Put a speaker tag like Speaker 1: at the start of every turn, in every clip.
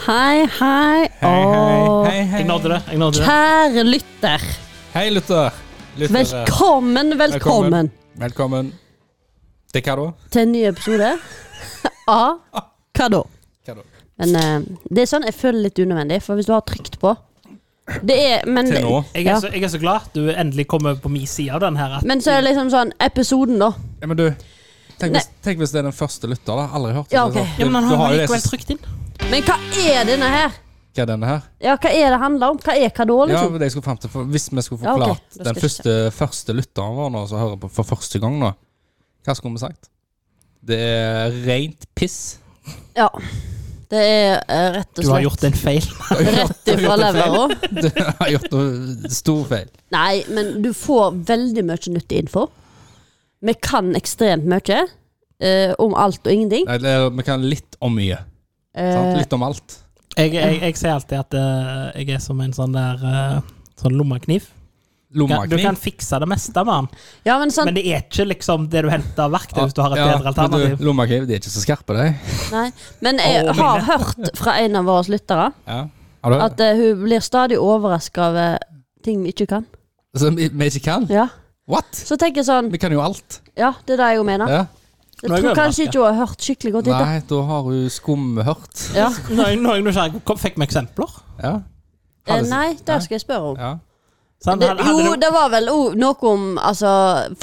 Speaker 1: Hei, hei, og
Speaker 2: hei, hei.
Speaker 3: Jeg nådde det. jeg nådde det.
Speaker 1: kjære lytter.
Speaker 2: Hei, lytter. Lyttere.
Speaker 1: Velkommen, velkommen
Speaker 2: Velkommen. Til hva da?
Speaker 1: til en ny episode av Hva da?
Speaker 2: Hva da?
Speaker 1: Men eh, det er sånn jeg føler litt unødvendig, for hvis du har trykt på Det er men,
Speaker 2: Til nå?
Speaker 3: Jeg er,
Speaker 1: Ja.
Speaker 3: så, jeg er så glad du endelig kommer på min side av den her. At
Speaker 1: Men så er det liksom sånn Episoden, da.
Speaker 2: Ja, men du, tenk hvis,
Speaker 1: Nei.
Speaker 2: tenk hvis det er den første lytter, da. Aldri hørt
Speaker 1: Ja,
Speaker 2: om det,
Speaker 1: ok.
Speaker 2: sant?
Speaker 3: ja, men han
Speaker 2: du, du
Speaker 3: har
Speaker 2: har jo det
Speaker 3: likevel
Speaker 2: som
Speaker 3: trykt inn.
Speaker 1: Men hva er denne her?
Speaker 2: Hva er denne her.
Speaker 1: Ja, hva er det handler om? Hva er hva da,
Speaker 2: Ja,
Speaker 1: liksom?
Speaker 2: men det jeg skulle frem til, for Hvis vi skulle
Speaker 1: Ja, ok.
Speaker 2: forklart
Speaker 1: Da skal
Speaker 2: den
Speaker 1: jeg
Speaker 2: første, første lytteren vår nå, som hører på for første gang nå, hva skulle vi sagt? Det er rent piss.
Speaker 1: Ja. Det er eh, rett og
Speaker 3: Du har
Speaker 1: slett
Speaker 3: gjort en feil.
Speaker 1: rett ifra levra.
Speaker 2: Du har gjort en stor feil.
Speaker 1: Nei, men du får veldig mye nyttig info. Vi kan ekstremt mye eh, om alt og ingenting.
Speaker 2: Nei, det er, vi kan litt om mye. Sant?
Speaker 1: Eh,
Speaker 2: Litt om alt.
Speaker 3: Jeg, jeg, jeg sier alltid at eh, jeg er som en sånn der eh, Sånn lommekniv. Du kan- Du kan
Speaker 2: Lommakniv.
Speaker 3: fikse det meste med den,
Speaker 1: ja, men sånn
Speaker 3: men det er ikke liksom det du henter av verktøy hvis du har et
Speaker 2: Ja,
Speaker 3: bedre
Speaker 2: men du,
Speaker 3: alternativ.
Speaker 2: Lommakniv, de er ikke så skarpe, de.
Speaker 1: Nei. Men jeg
Speaker 3: Å,
Speaker 1: har
Speaker 3: mine.
Speaker 1: hørt fra en av våre lyttere
Speaker 2: Ja. Har du hørt?
Speaker 1: at eh, hun blir stadig overraska over ting vi ikke kan.
Speaker 2: Som Altså, vi, vi ikke kan?
Speaker 1: Ja.
Speaker 2: What?
Speaker 1: Så tenker jeg sånn
Speaker 2: Vi kan jo alt.
Speaker 1: Ja, det er det jeg jo mener.
Speaker 2: Ja.
Speaker 3: Nå
Speaker 1: Jeg
Speaker 3: er jeg
Speaker 1: tror kanskje
Speaker 3: overrasket.
Speaker 1: ikke hun har hørt skikkelig godt etter.
Speaker 2: Nei, da har hun skumhørt.
Speaker 1: Ja.
Speaker 3: Nå er jeg- nå er jeg nysgjerrig. Kom- Fikk vi eksempler?
Speaker 2: Ja.
Speaker 1: Eh,
Speaker 2: Hadde-
Speaker 1: Nei, det skal jeg spørre om.
Speaker 2: Ja.
Speaker 3: Sant?
Speaker 1: Det,
Speaker 3: Hadde- Sånn, hadde
Speaker 1: jo,
Speaker 3: du-
Speaker 1: det var vel oh, noe om altså,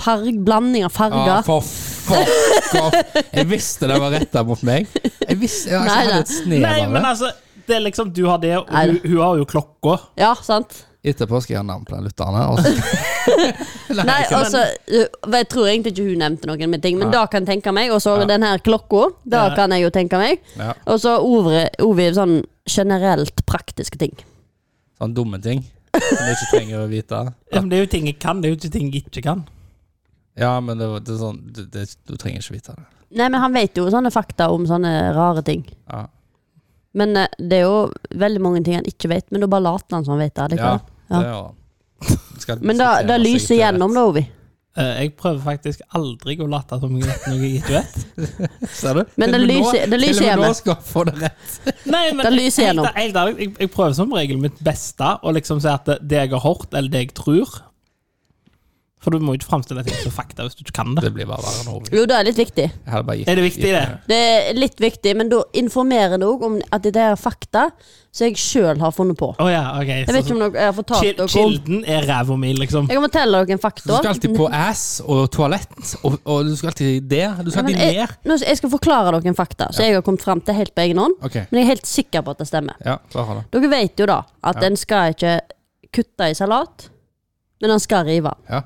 Speaker 1: farg, blanding av
Speaker 2: ja,
Speaker 1: farger.
Speaker 2: Ah, for fuck off. Jeg visste det var retta mot meg. Jeg visste jeg,
Speaker 1: Nei,
Speaker 2: jeg
Speaker 1: nei.
Speaker 2: hadde et snev
Speaker 3: Nei,
Speaker 2: av
Speaker 3: men
Speaker 2: det.
Speaker 3: altså Det er liksom Du har det, og
Speaker 1: Nei,
Speaker 3: hun, hun har jo klokka.
Speaker 1: Ja, sant?
Speaker 2: Etterpå skal jeg ha navn på den lytteren. her, Altså.
Speaker 1: Nei,
Speaker 2: ikke-
Speaker 1: altså, øh, Jeg tror egentlig ikke hun nevnte noen med ting, men
Speaker 2: Nei.
Speaker 1: det kan jeg tenke meg. Og så
Speaker 2: Ja.
Speaker 1: den her klokka, det
Speaker 3: Ja.
Speaker 1: kan jeg jo tenke meg.
Speaker 2: ja.
Speaker 1: Og så Ovi, Ovi sånn generelt praktiske ting.
Speaker 2: Sånne dumme ting som jeg ikke trenger å vite.
Speaker 3: Ja, men det er jo ting jeg kan, det er jo ikke ting jeg ikke kan.
Speaker 2: Ja, men det, var- det er sånn det, det, Du trenger ikke vite det.
Speaker 1: Nei, men han vet jo sånne fakta om sånne rare ting.
Speaker 2: Ja.
Speaker 1: Men eh, det er jo veldig mange ting han ikke vet, men da bare later han som han vet det. det
Speaker 2: Ja,
Speaker 1: kan. Ja.
Speaker 2: det gjør han. Skal
Speaker 1: Men da,
Speaker 2: diskutere
Speaker 1: da
Speaker 2: seg
Speaker 1: lyser
Speaker 2: til
Speaker 1: gjennom, da, Ovi.
Speaker 3: Eh, Jeg prøver faktisk aldri å late som jeg vet noe jeg ikke vet.
Speaker 2: rett. Ser du?
Speaker 1: Men det
Speaker 2: Til og med nå-
Speaker 1: lyser- det lyser
Speaker 2: Til og med
Speaker 1: gjennom.
Speaker 2: nå skal jeg få det rett.
Speaker 3: Nei, men
Speaker 1: Det lyser
Speaker 3: helt-
Speaker 1: gjennom.
Speaker 3: helt ærlig, jeg, jeg prøver som regel mitt beste å liksom si at det- det jeg har hørt, eller det jeg tror For du må jo ikke framstille ting som fakta hvis du ikke kan det.
Speaker 2: Det blir bare verre nå.
Speaker 1: Jo, det er litt viktig.
Speaker 2: Jeg hadde bare gitt
Speaker 3: Er det viktig, det?
Speaker 1: Det er litt viktig, men da informerer det òg om at det er fakta som jeg sjøl har funnet på.
Speaker 3: Å ja, OK.
Speaker 1: Jeg vet ikke om dere jeg har
Speaker 3: Kil-
Speaker 1: fortalt dere om
Speaker 3: Kilden er ræva mi, liksom.
Speaker 1: Jeg kan fortelle dere en
Speaker 2: Du
Speaker 1: fakta.
Speaker 2: skal alltid på ass og toalett, og, og du skal alltid der. Du skal
Speaker 1: Men
Speaker 2: alltid
Speaker 1: jeg,
Speaker 2: ned.
Speaker 1: nå, skal- jeg skal forklare dere en fakta som jeg har kommet fram til helt på egen hånd.
Speaker 2: Ok,
Speaker 1: Men jeg er helt sikker på at det stemmer.
Speaker 2: ja, bare ha det.
Speaker 1: Dere vet jo da at
Speaker 2: Ja.
Speaker 1: en skal ikke kutte i salat, men en skal rive.
Speaker 2: Ja.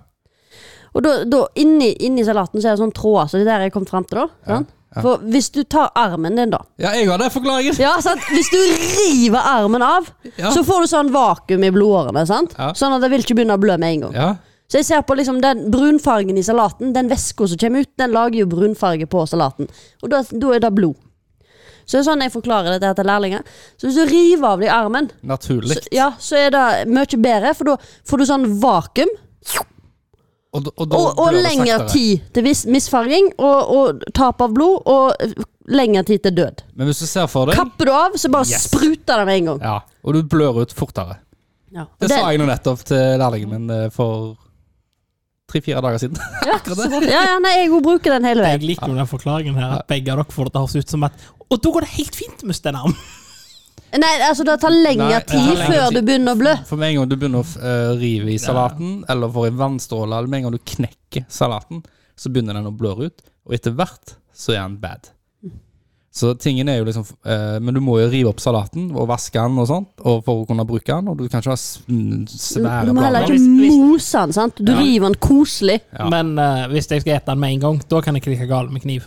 Speaker 1: Og da, da inni, inni salaten så er det sånn tråder, så det er der jeg kom fram til, da. sant?
Speaker 2: ja.
Speaker 1: For hvis du tar armen din, da
Speaker 2: ja, jeg har den forklaringen.
Speaker 1: Ja, sant? Hvis du river armen av,
Speaker 2: Ja.
Speaker 1: så får du sånn vakuum i blodårene. sant?
Speaker 2: Ja.
Speaker 1: Sånn at det vil ikke begynne å blø med en gang.
Speaker 2: Ja.
Speaker 1: Så jeg ser på liksom den brunfargen i salaten, den væska som kommer ut, den lager jo brunfarge på salaten. Og da, da er det blod. Så det er sånn jeg forklarer dette her til lærlinger. Så hvis du river av deg armen,
Speaker 2: Naturlig.
Speaker 1: så, ja, så er det mye bedre, for da får du sånn vakuum.
Speaker 2: Og, da- da
Speaker 1: Og,
Speaker 2: blør
Speaker 1: og
Speaker 2: det
Speaker 1: lengre
Speaker 2: saktere.
Speaker 1: tid til vis- misfarging, og, og tap av blod, og eh, lengre tid til død.
Speaker 2: Men hvis du ser for deg
Speaker 1: Kapper du av, så bare
Speaker 2: Yes.
Speaker 1: spruter det med en gang.
Speaker 2: ja, Og du blør ut fortere.
Speaker 1: Ja.
Speaker 2: Det,
Speaker 1: Og det-
Speaker 2: sa jeg nå nettopp til lærlingen min eh, for tre-fire dager siden. Akkurat det.
Speaker 1: Ja, ja, nei, jeg bruker den hele
Speaker 3: Jeg
Speaker 1: veien.
Speaker 3: liker jo den forklaringen her, at begge av dere får det til å høres ut som at Og da går det helt fint med den armen!
Speaker 1: Nei, altså det tar
Speaker 2: Nei,
Speaker 1: lengre
Speaker 2: det tar
Speaker 1: tid
Speaker 2: lengre
Speaker 1: før
Speaker 2: tid.
Speaker 1: du begynner å blø.
Speaker 2: For med en gang du begynner å eh, rive i salaten, eller får en vannstråle, eller med en gang du knekker salaten, så begynner den å bløre ut, og etter hvert så er den bad. Så tingen er jo liksom eh, Men du må jo rive opp salaten og vaske den og sånt, og for å kunne bruke den, og du kan ikke ha s- mm,
Speaker 1: Du
Speaker 2: svære
Speaker 1: må heller
Speaker 2: blader.
Speaker 1: ikke
Speaker 3: Hvis- hvis-
Speaker 1: mose den, sant? Du river den koselig.
Speaker 2: Ja.
Speaker 3: Men eh, hvis jeg skal ete den med en gang, da kan jeg ikke like gal med kniv.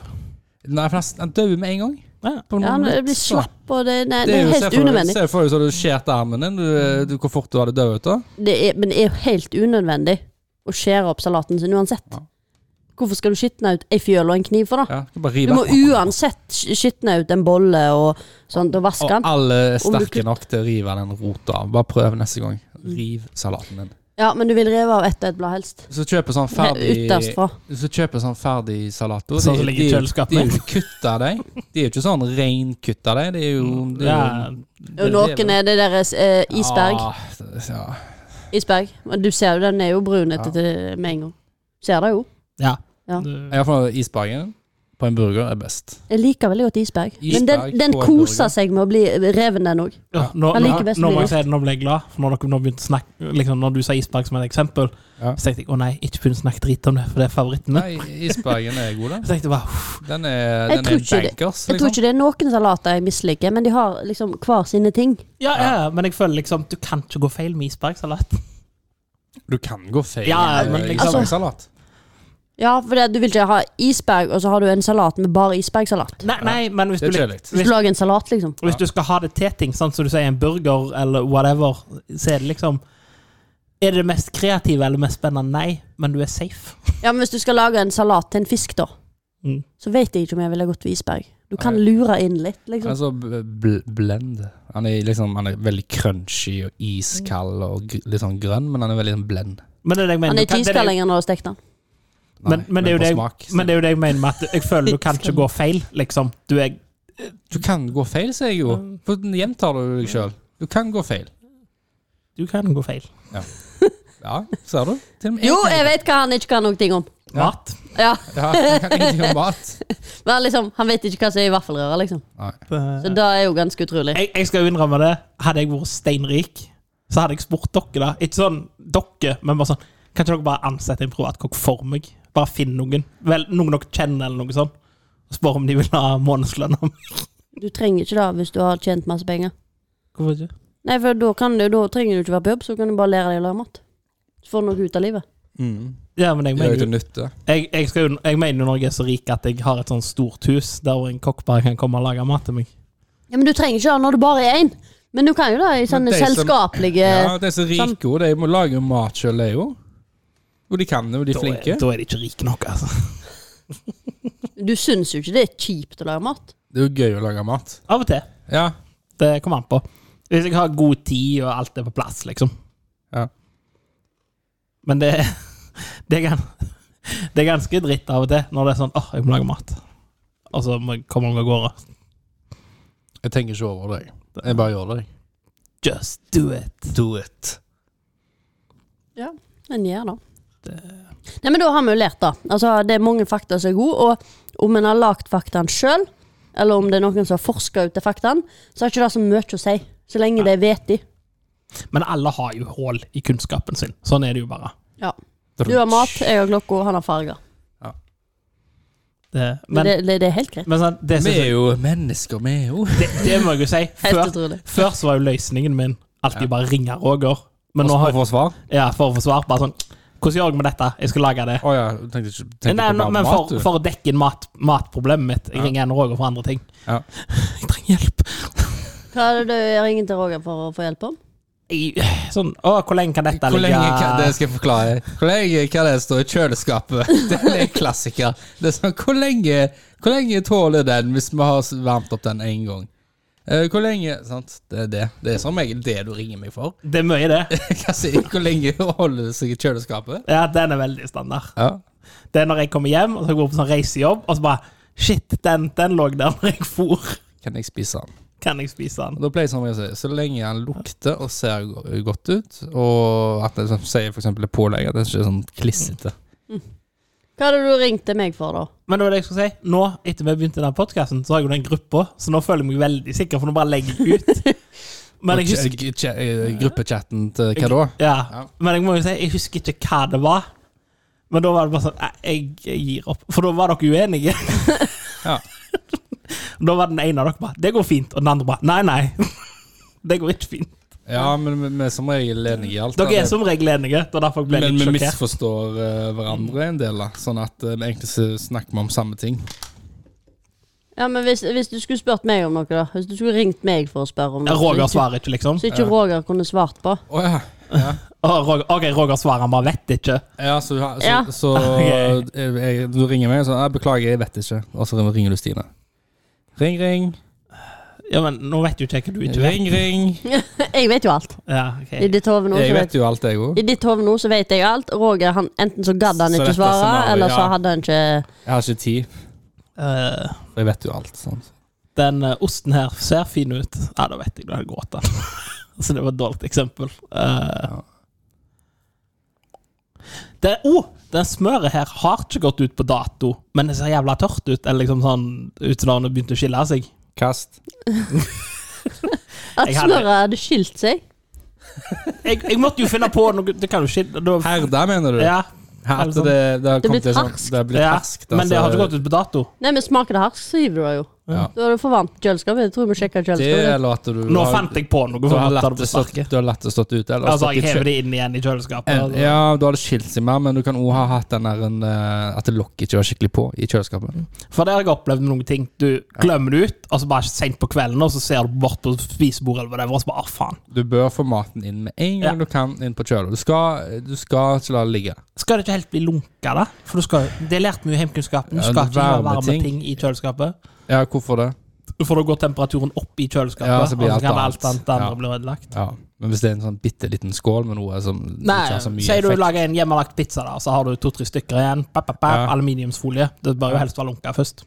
Speaker 2: Nei, for den- den dør jo med en gang.
Speaker 3: Ja.
Speaker 2: På
Speaker 1: Ja,
Speaker 2: noen
Speaker 1: det
Speaker 2: minutter,
Speaker 1: blir
Speaker 2: så.
Speaker 1: slapp, og det, nei, det
Speaker 2: Det er
Speaker 1: er
Speaker 2: jo, se
Speaker 1: helt
Speaker 2: for deg-
Speaker 1: unødvendig.
Speaker 2: se for deg så du skjærte armen din, du, du, hvor fort du hadde dødd ut da.
Speaker 1: Det er, men det er jo helt unødvendig å skjære opp salaten sin uansett.
Speaker 2: Ja.
Speaker 1: Hvorfor skal du skitne ut ei fjøl og en kniv for det?
Speaker 2: Ja, du, bare
Speaker 1: Du
Speaker 2: rive
Speaker 1: må
Speaker 2: akkurat.
Speaker 1: uansett sk- skitne ut en bolle og sånt, og vaske
Speaker 2: Og
Speaker 1: den.
Speaker 2: alle er
Speaker 1: Om du Mm.
Speaker 2: sterke nok til å rive den rota. Bare prøv neste gang. Riv salaten din.
Speaker 1: Ja, men du vil rive av ett og ett blad helst.
Speaker 2: Så kjøper sånn ferdig
Speaker 1: Ytterst fra.
Speaker 2: Så kjøper sånn ferdig salato.
Speaker 3: Sånn som
Speaker 2: de,
Speaker 3: ligger i
Speaker 2: de,
Speaker 3: kjøleskapet.
Speaker 2: de er jo kutta, de. De er jo ikke sånn reinkutta, de. De er jo, de
Speaker 3: Mm. Ja,
Speaker 2: er
Speaker 1: Og noen er det deres eh,
Speaker 2: jo
Speaker 1: isberg.
Speaker 2: Ah, ja.
Speaker 1: Isberg. Men du ser jo, den er jo brun etter til- med en gang. Ser det jo.
Speaker 3: ja.
Speaker 1: Ja.
Speaker 3: Du-
Speaker 2: Iallfall isbergen på en burger er best.
Speaker 1: Jeg liker veldig godt isberg. Men
Speaker 2: Isberg
Speaker 1: den, den
Speaker 2: på en
Speaker 1: koser
Speaker 2: burger.
Speaker 1: seg med å bli reven, den òg.
Speaker 3: Ja, nå,
Speaker 1: Jeg liker
Speaker 3: nå,
Speaker 1: best
Speaker 3: nå
Speaker 1: med
Speaker 3: må jeg
Speaker 1: is.
Speaker 3: si det, nå ble jeg glad. For når dere nå begynte å snakke liksom, Når du sa isberg som et eksempel,
Speaker 2: Ja.
Speaker 3: så tenkte jeg å nei, ikke begynn å snakke dritt om det, for det er favoritten min.
Speaker 2: Nei, isbergen er god,
Speaker 3: Så
Speaker 2: da.
Speaker 3: tenkte jeg bare uff,
Speaker 2: Den er,
Speaker 1: Jeg
Speaker 2: den
Speaker 1: tror
Speaker 2: er
Speaker 1: ikke det.
Speaker 2: bankers,
Speaker 1: Jeg tror
Speaker 2: liksom.
Speaker 1: ikke det er noen salater jeg misliker, men de har liksom hver sine ting.
Speaker 3: ja, ja, men jeg føler liksom du kan ikke gå feil med isbergsalat.
Speaker 2: Du kan gå feil
Speaker 3: Ja,
Speaker 2: med
Speaker 3: men liksom-
Speaker 2: isbergsalat.
Speaker 1: Ja, for det, du vil ikke ha isberg, og så har du en salat med bare isbergsalat.
Speaker 3: Nei, nei, men hvis
Speaker 2: Det
Speaker 3: du,
Speaker 2: er
Speaker 3: lik-
Speaker 2: kjedelig.
Speaker 1: Hvis du lager en salat, liksom.
Speaker 3: hvis du skal ha det til ting, sånn som du sier en burger eller whatever, så er det liksom Er det det mest kreative eller mest spennende? Nei, men du er safe.
Speaker 1: Ja, men hvis du skal lage en salat til en fisk, da,
Speaker 3: Mm.
Speaker 1: så vet jeg ikke om jeg ville gått for isberg. Du kan lure inn litt,
Speaker 2: Han er
Speaker 3: Altså,
Speaker 1: liksom.
Speaker 2: så bl- bl- Altså, blend. Han er, liksom, han er veldig crunchy og iskald
Speaker 1: Mm.
Speaker 2: og gr litt sånn grønn, men han er veldig sånn blend.
Speaker 3: Men det er det jeg mener.
Speaker 1: Han er
Speaker 3: du kan-
Speaker 1: ikke
Speaker 3: det er
Speaker 1: iskald
Speaker 3: det jeg-
Speaker 1: lenger når du har stekt den.
Speaker 2: Nei,
Speaker 3: Men, men, det er jo
Speaker 2: på
Speaker 3: det
Speaker 2: smak,
Speaker 3: jeg,
Speaker 2: så-
Speaker 3: men det er jo det jeg mener med at jeg føler du kan ikke gå feil, liksom. Du er
Speaker 2: Du kan gå feil, sier jeg jo.
Speaker 1: Mm.
Speaker 2: For den Gjentar du deg sjøl. Du kan gå feil.
Speaker 3: Du kan gå feil.
Speaker 2: Ja, ser du? Til og med
Speaker 1: Jo,
Speaker 2: kan
Speaker 1: jeg vet hva han ikke kan noen ting om.
Speaker 3: Mat.
Speaker 1: Ja,
Speaker 2: gå- Ja, jeg kan ingenting om mat.
Speaker 1: men liksom, Han vet ikke hva som er i vaffelrøra, liksom.
Speaker 2: Eh,
Speaker 1: Så
Speaker 3: Jeg,
Speaker 1: det er jo ganske utrolig.
Speaker 3: jeg skal jo innrømme det. Hadde jeg vært steinrik, så hadde jeg spurt dere, da. Ikke sånn dere, men bare sånn Kan ikke dere bare ansette en privatkokk for meg? Bare finn noen. Vel, noen dere kjenner, eller noe sånt. Og spør om de vil ha månedslønn. av meg.
Speaker 1: Du trenger ikke det hvis du har tjent masse penger.
Speaker 3: Hvorfor ikke?
Speaker 1: Nei, for da, kan du, da trenger du ikke være på jobb, så kan du bare lære deg å lage mat. Så får du noe ut av livet.
Speaker 2: Mm.
Speaker 3: Ja, men jeg
Speaker 2: Det er
Speaker 3: mener
Speaker 2: jo
Speaker 3: jo
Speaker 2: til nytte.
Speaker 3: jeg, jeg, skal, jo- jeg mener jo når jeg er så rik at jeg har et sånt stort hus der hvor en kokk bare kan komme og lage mat til meg.
Speaker 1: Ja, Men du trenger ikke det når du bare er én. Men du kan jo det i sånne
Speaker 2: de som-
Speaker 1: selskapelige
Speaker 2: Ja, de som er
Speaker 1: Sånn.
Speaker 2: rike, og de må lage mat sjøl, de òg. Og de kan det, og de er
Speaker 3: Da,
Speaker 2: flinke.
Speaker 3: er, da er de ikke rike nok, altså.
Speaker 1: Du syns jo ikke det er kjipt å lage mat.
Speaker 2: Det er jo gøy å lage mat.
Speaker 3: Av og til.
Speaker 2: Ja.
Speaker 3: Det kommer an på. Hvis jeg har god tid og alt er på plass, liksom.
Speaker 2: Ja.
Speaker 3: Men det, det, er, gan- det er ganske dritt av og til når det er sånn åh, jeg må lage mat. Og så må jeg komme meg av gårde.
Speaker 2: Jeg tenker ikke over det. Jeg bare gjør det.
Speaker 3: Just do it.
Speaker 2: Do it.
Speaker 1: Men gjør det. Nei, men da har vi jo lært, da. Altså, det er mange fakta som er gode, og om en har lagd faktaen sjøl, eller om det er noen som har forska ut de faktaen, så har ikke det så mye å si. Så lenge det vet de.
Speaker 3: Men alle har jo hull i kunnskapen sin. Sånn er det jo bare.
Speaker 1: Ja. Du har mat, jeg har klokka, han har farger.
Speaker 3: Det,
Speaker 1: Men
Speaker 3: men
Speaker 1: det, det, det er helt greit.
Speaker 3: men sånn, det,
Speaker 2: Vi
Speaker 3: synes
Speaker 2: er
Speaker 3: jeg,
Speaker 2: jo mennesker, vi er jo.
Speaker 3: det, det må jeg jo si.
Speaker 1: Helt
Speaker 3: Før,
Speaker 1: utrolig.
Speaker 3: før så var jo løsningen min alltid bare ringe Roger. Men nå
Speaker 2: Og
Speaker 3: har
Speaker 2: for svar?
Speaker 3: ja, for å få svar. Bare sånn Hvordan gjør jeg med dette? Jeg skal lage det.
Speaker 2: Å ja, du tenkte ikke tenkte
Speaker 3: Nei,
Speaker 2: på
Speaker 3: nå-
Speaker 2: bare
Speaker 3: men
Speaker 2: mat,
Speaker 3: for,
Speaker 2: du.
Speaker 3: for å dekke inn mat, matproblemet mitt. Jeg ringer en Roger for andre ting.
Speaker 2: Ja.
Speaker 3: Jeg trenger hjelp.
Speaker 1: Hva er det du ringer til Roger for å få hjelp om?
Speaker 3: Jeg, sånn, å, hvor lenge kan dette
Speaker 2: Hvor
Speaker 3: ligge?
Speaker 2: lenge kan, det skal jeg forklare. Hvor lenge kan det stå i kjøleskapet? Det er en klassiker. Det er sånn, hvor, lenge, hvor lenge tåler den hvis vi har varmt opp den én gang? Eh, Hvor lenge Sant, det er det. Det er som regel det du ringer meg for.
Speaker 3: Det er mye, det.
Speaker 2: Hva sier jeg? Hvor lenge holder det seg i kjøleskapet?
Speaker 3: Ja, Den er veldig standard.
Speaker 2: Ja.
Speaker 3: Det er når jeg kommer hjem og så går jeg på sånn reisejobb, og så bare Shit, den, den lå der når jeg for.
Speaker 2: Kan jeg spise den?
Speaker 3: Kan jeg spise den?
Speaker 2: Og Da pleier jeg som regel å si så lenge den lukter og ser go- godt ut, og at det som sier for eksempel et pålegg, at det ikke er sånn klissete.
Speaker 1: Hva er det du ringte meg for, da?
Speaker 3: Men det var det jeg skulle si. Nå, etter vi begynte den podkasten, så har jeg jo den gruppa, så nå føler jeg meg veldig sikker, for nå bare legger jeg ut. Men jeg husker
Speaker 2: Ch- ch- eh, Gruppechatten til hva da?
Speaker 3: Ja.
Speaker 2: Ja.
Speaker 3: Men jeg må jo si, jeg husker ikke hva det var. Men da var det bare sånn nei, jeg, jeg gir opp. For da var dere uenige.
Speaker 2: Ja.
Speaker 3: Da var den ene av dere bare 'Det går fint', og den andre bare 'Nei, nei'. Det går ikke fint.
Speaker 2: Ja, men vi- vi er som regel enige i alt. da.
Speaker 3: Dere er som regel enige. Det var derfor jeg ble
Speaker 2: men
Speaker 3: litt
Speaker 2: vi
Speaker 3: sjokkert.
Speaker 2: misforstår eh, hverandre en del, da. Sånn at eh, vi egentlig så snakker vi om samme ting.
Speaker 1: Ja, men hvis, hvis du skulle spurt meg om noe, da? Hvis du skulle ringt meg for å spørre om noe? så
Speaker 3: Roger
Speaker 1: ikke-
Speaker 3: svarer ikke, liksom.
Speaker 1: Så ikke Roger kunne svart på?
Speaker 2: Å ja. ja.
Speaker 3: Å, Roger, ok, Roger svarer, han bare vet ikke.
Speaker 2: Ja, så, så, så,
Speaker 1: Ja.
Speaker 2: eh, jeg, du ringer meg og sier 'Beklager, jeg vet ikke', og så ringer du Stine. Ring, ring.
Speaker 3: Ja, men nå vet jo ikke jeg hva du ikke vet.
Speaker 2: Ring, ring.
Speaker 1: Jeg vet jo alt.
Speaker 3: Ja,
Speaker 1: I
Speaker 3: ok.
Speaker 1: ditt hode nå, så
Speaker 2: Jeg
Speaker 1: vet,
Speaker 2: vet jo alt, jeg òg.
Speaker 1: i ditt hode nå så vet jeg alt. Roger, han, enten så gadd han
Speaker 2: Så
Speaker 1: ikke
Speaker 2: dette
Speaker 1: svare,
Speaker 2: scenarioet,
Speaker 1: eller så
Speaker 2: ja.
Speaker 1: hadde han ikke
Speaker 2: Jeg har ikke tid.
Speaker 3: Eh,
Speaker 2: Jeg vet jo alt. Sånn.
Speaker 3: den eh, osten her ser fin ut. Ja, da vet jeg da gråter. altså, det var et dårlig eksempel. Eh,
Speaker 2: Ja.
Speaker 3: det, oh, den smøret her har ikke gått ut på dato, men det ser jævla tørt ut. Eller liksom sånn ut som det har begynt å skille seg.
Speaker 2: Kast.
Speaker 1: At
Speaker 3: Jeg hadde-
Speaker 1: smøret hadde skilt seg.
Speaker 3: Jeg, jeg måtte jo finne på noe Det kan jo skille da,
Speaker 2: Herda, mener du?
Speaker 3: ja,
Speaker 2: Her,
Speaker 3: eller
Speaker 2: at
Speaker 3: sånn.
Speaker 2: det, det har
Speaker 1: Det er
Speaker 2: kommet
Speaker 1: blitt
Speaker 2: til sånn
Speaker 1: harskt.
Speaker 2: Det har blitt
Speaker 3: ja,
Speaker 2: harskt.
Speaker 3: men det har
Speaker 2: altså.
Speaker 3: ikke gått ut på dato.
Speaker 1: Nei, men smaker det harsk, så hiver du det jo.
Speaker 2: Ja.
Speaker 1: Da er det for varmt i kjøleskapet. Jeg tror vi sjekker
Speaker 2: Det
Speaker 1: kjøleskapet.
Speaker 2: eller at du
Speaker 3: Nå
Speaker 2: har-
Speaker 3: fant jeg på noe.
Speaker 2: du
Speaker 3: for
Speaker 2: har
Speaker 3: å ta
Speaker 2: latt
Speaker 3: det
Speaker 2: det
Speaker 3: på
Speaker 2: stått,
Speaker 3: sparket.
Speaker 2: du har latt det stått ute. Eller
Speaker 3: Altså,
Speaker 2: stått i
Speaker 3: jeg
Speaker 2: kjø-
Speaker 3: hever det inn igjen i kjøleskapet.
Speaker 2: En-
Speaker 3: altså.
Speaker 2: Ja, du hadde skilt seg mer, men du kan òg ha hatt den der en, eh, at lokket ikke var skikkelig på i kjøleskapet.
Speaker 3: For der har jeg opplevd noen ting. Du glemmer det ut, og så bare sent på kvelden, og så ser du bort på spisebordet, eller whatever, og så bare, ah, faen.
Speaker 2: Du bør få maten inn med en gang
Speaker 3: Ja.
Speaker 2: du kan inn på kjøla. Du, skal- du skal ikke la det ligge.
Speaker 3: Skal det ikke helt bli lunka, da? For du skal, det er lært mye i heimkunnskapen. Du
Speaker 2: Ja,
Speaker 3: skal ikke ha
Speaker 2: varme
Speaker 3: varme
Speaker 2: ting.
Speaker 3: ting i kjøleskapet.
Speaker 2: Ja, hvorfor det?
Speaker 3: For da går temperaturen opp i kjøleskapet,
Speaker 2: Ja, så blir
Speaker 3: og så kan
Speaker 2: alt
Speaker 3: alt annet andre
Speaker 2: Ja.
Speaker 3: bli ødelagt.
Speaker 2: Ja, Men hvis det er en sånn bitte liten skål med noe som
Speaker 3: Nei,
Speaker 2: ikke har så mye
Speaker 3: sier du
Speaker 2: effekt
Speaker 3: lager en hjemmelagt pizza, da, så har du to-tre stykker igjen. Pap, pap, pap,
Speaker 2: Ja.
Speaker 3: Aluminiumsfolie. Det bør jo helst være lunka først.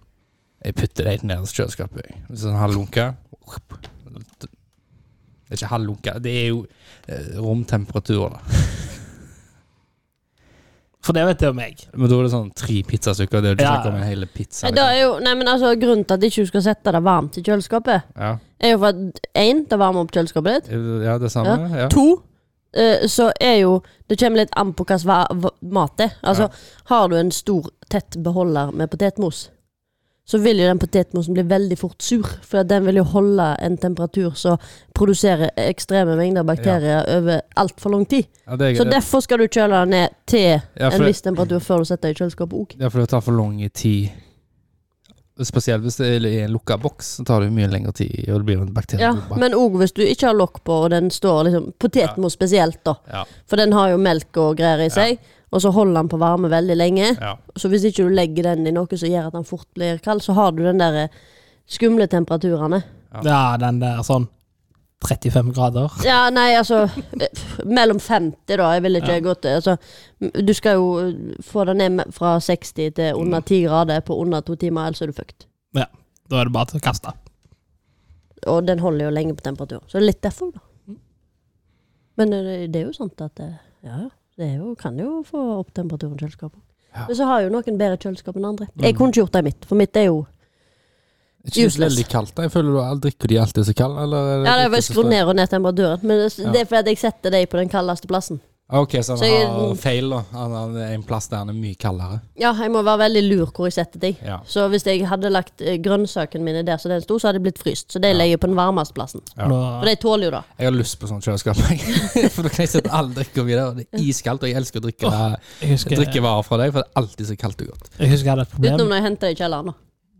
Speaker 2: Jeg putter det helt nederst i kjøleskapet. jeg. Hvis den har lunka Det er ikke halv lunka, det er jo eh, romtemperatur, da.
Speaker 3: For det vet jo meg.
Speaker 2: Men da er det sånn tre pizzastykker. Det er jo ikke
Speaker 3: Ja.
Speaker 2: snakk om en hel pizza. liksom.
Speaker 1: Nei, da er jo, nei, men altså, grunnen til at jeg ikke skal sette det varmt i kjøleskapet,
Speaker 2: Ja.
Speaker 1: er jo for at én, det varmer opp kjøleskapet ditt.
Speaker 2: ja, det samme. Ja.
Speaker 1: To, eh, så er jo Det kommer litt an på hva som va- va- mat det er. Altså, har du en stor, tett beholder med potetmos, så vil jo den potetmosen bli veldig fort sur. For at den vil jo holde en temperatur som produserer ekstreme mengder bakterier over altfor lang tid.
Speaker 2: Ja, det er,
Speaker 1: Så derfor skal du kjøle den ned til
Speaker 2: Ja, for
Speaker 1: en
Speaker 2: det-
Speaker 1: viss temperatur før du setter den i kjøleskapet òg.
Speaker 2: Ja, for det tar for lang tid. Spesielt hvis det er i en lukka boks, så tar det jo mye lengre tid. Og det blir jo en
Speaker 1: Ja,
Speaker 2: bakteriebombe.
Speaker 1: men òg hvis du ikke har lokk på, og den står liksom Potetmos spesielt, da.
Speaker 2: Ja,
Speaker 1: For den har jo melk og greier i seg. Og så holder den på varme veldig lenge.
Speaker 2: ja.
Speaker 1: Så hvis ikke du legger den i noe som gjør at den fort blir kald, så har du den der eh, skumle temperaturene.
Speaker 2: Ja.
Speaker 3: Ja, den der sånn 35 grader.
Speaker 1: Ja, nei, altså eh, Mellom 50, da. Jeg vil ikke gå til altså, m- Du skal jo eh, få det ned me- fra 60 til under 10 grader på under to timer, ellers er du fucked.
Speaker 3: Ja, da er det bare til å kaste.
Speaker 1: Og den holder jo lenge på temperatur. Så det er litt derfor, da. Men eh, det, det er jo sant at eh, Ja, ja. Det er jo, kan jo få opp temperaturen i kjøleskapet.
Speaker 2: Ja.
Speaker 1: Men så har jo noen bedre kjøleskap enn andre. Jeg kunne ikke gjort det i mitt, for mitt er jo
Speaker 2: Ikke det
Speaker 1: Useless.
Speaker 2: veldig kaldt, da? Jeg føler du all- drikker de alltid så kald, eller? er
Speaker 1: Ja, det er
Speaker 2: drikker
Speaker 1: bare
Speaker 2: så
Speaker 1: skru
Speaker 2: strøm?
Speaker 1: ned og ned temperaturen. Men det,
Speaker 2: Ja.
Speaker 1: det er fordi at jeg setter deg på den kaldeste plassen.
Speaker 2: Ok, så han
Speaker 1: Så jeg-
Speaker 2: har feil, da. Han har en plass der han er mye kaldere.
Speaker 1: Ja, jeg må være veldig lur hvor jeg setter deg.
Speaker 2: Ja.
Speaker 1: Så hvis jeg hadde lagt eh, grønnsakene mine der så den sto, så hadde jeg blitt fryst. Så de legger jeg på den varmeste plassen.
Speaker 2: Ja.
Speaker 3: Nå,
Speaker 1: For de tåler jo det.
Speaker 2: Jeg har lyst på sånn kjøleskap. jeg. for da kan jeg sette all drikke oppi der, og det er iskaldt. Og jeg elsker å drikke,
Speaker 3: jeg, husker, jeg
Speaker 2: drikkevarer fra deg, for det er alltid så kaldt og godt.
Speaker 3: husker jeg hadde et problem.
Speaker 1: Utenom når jeg henter det i kjelleren, da.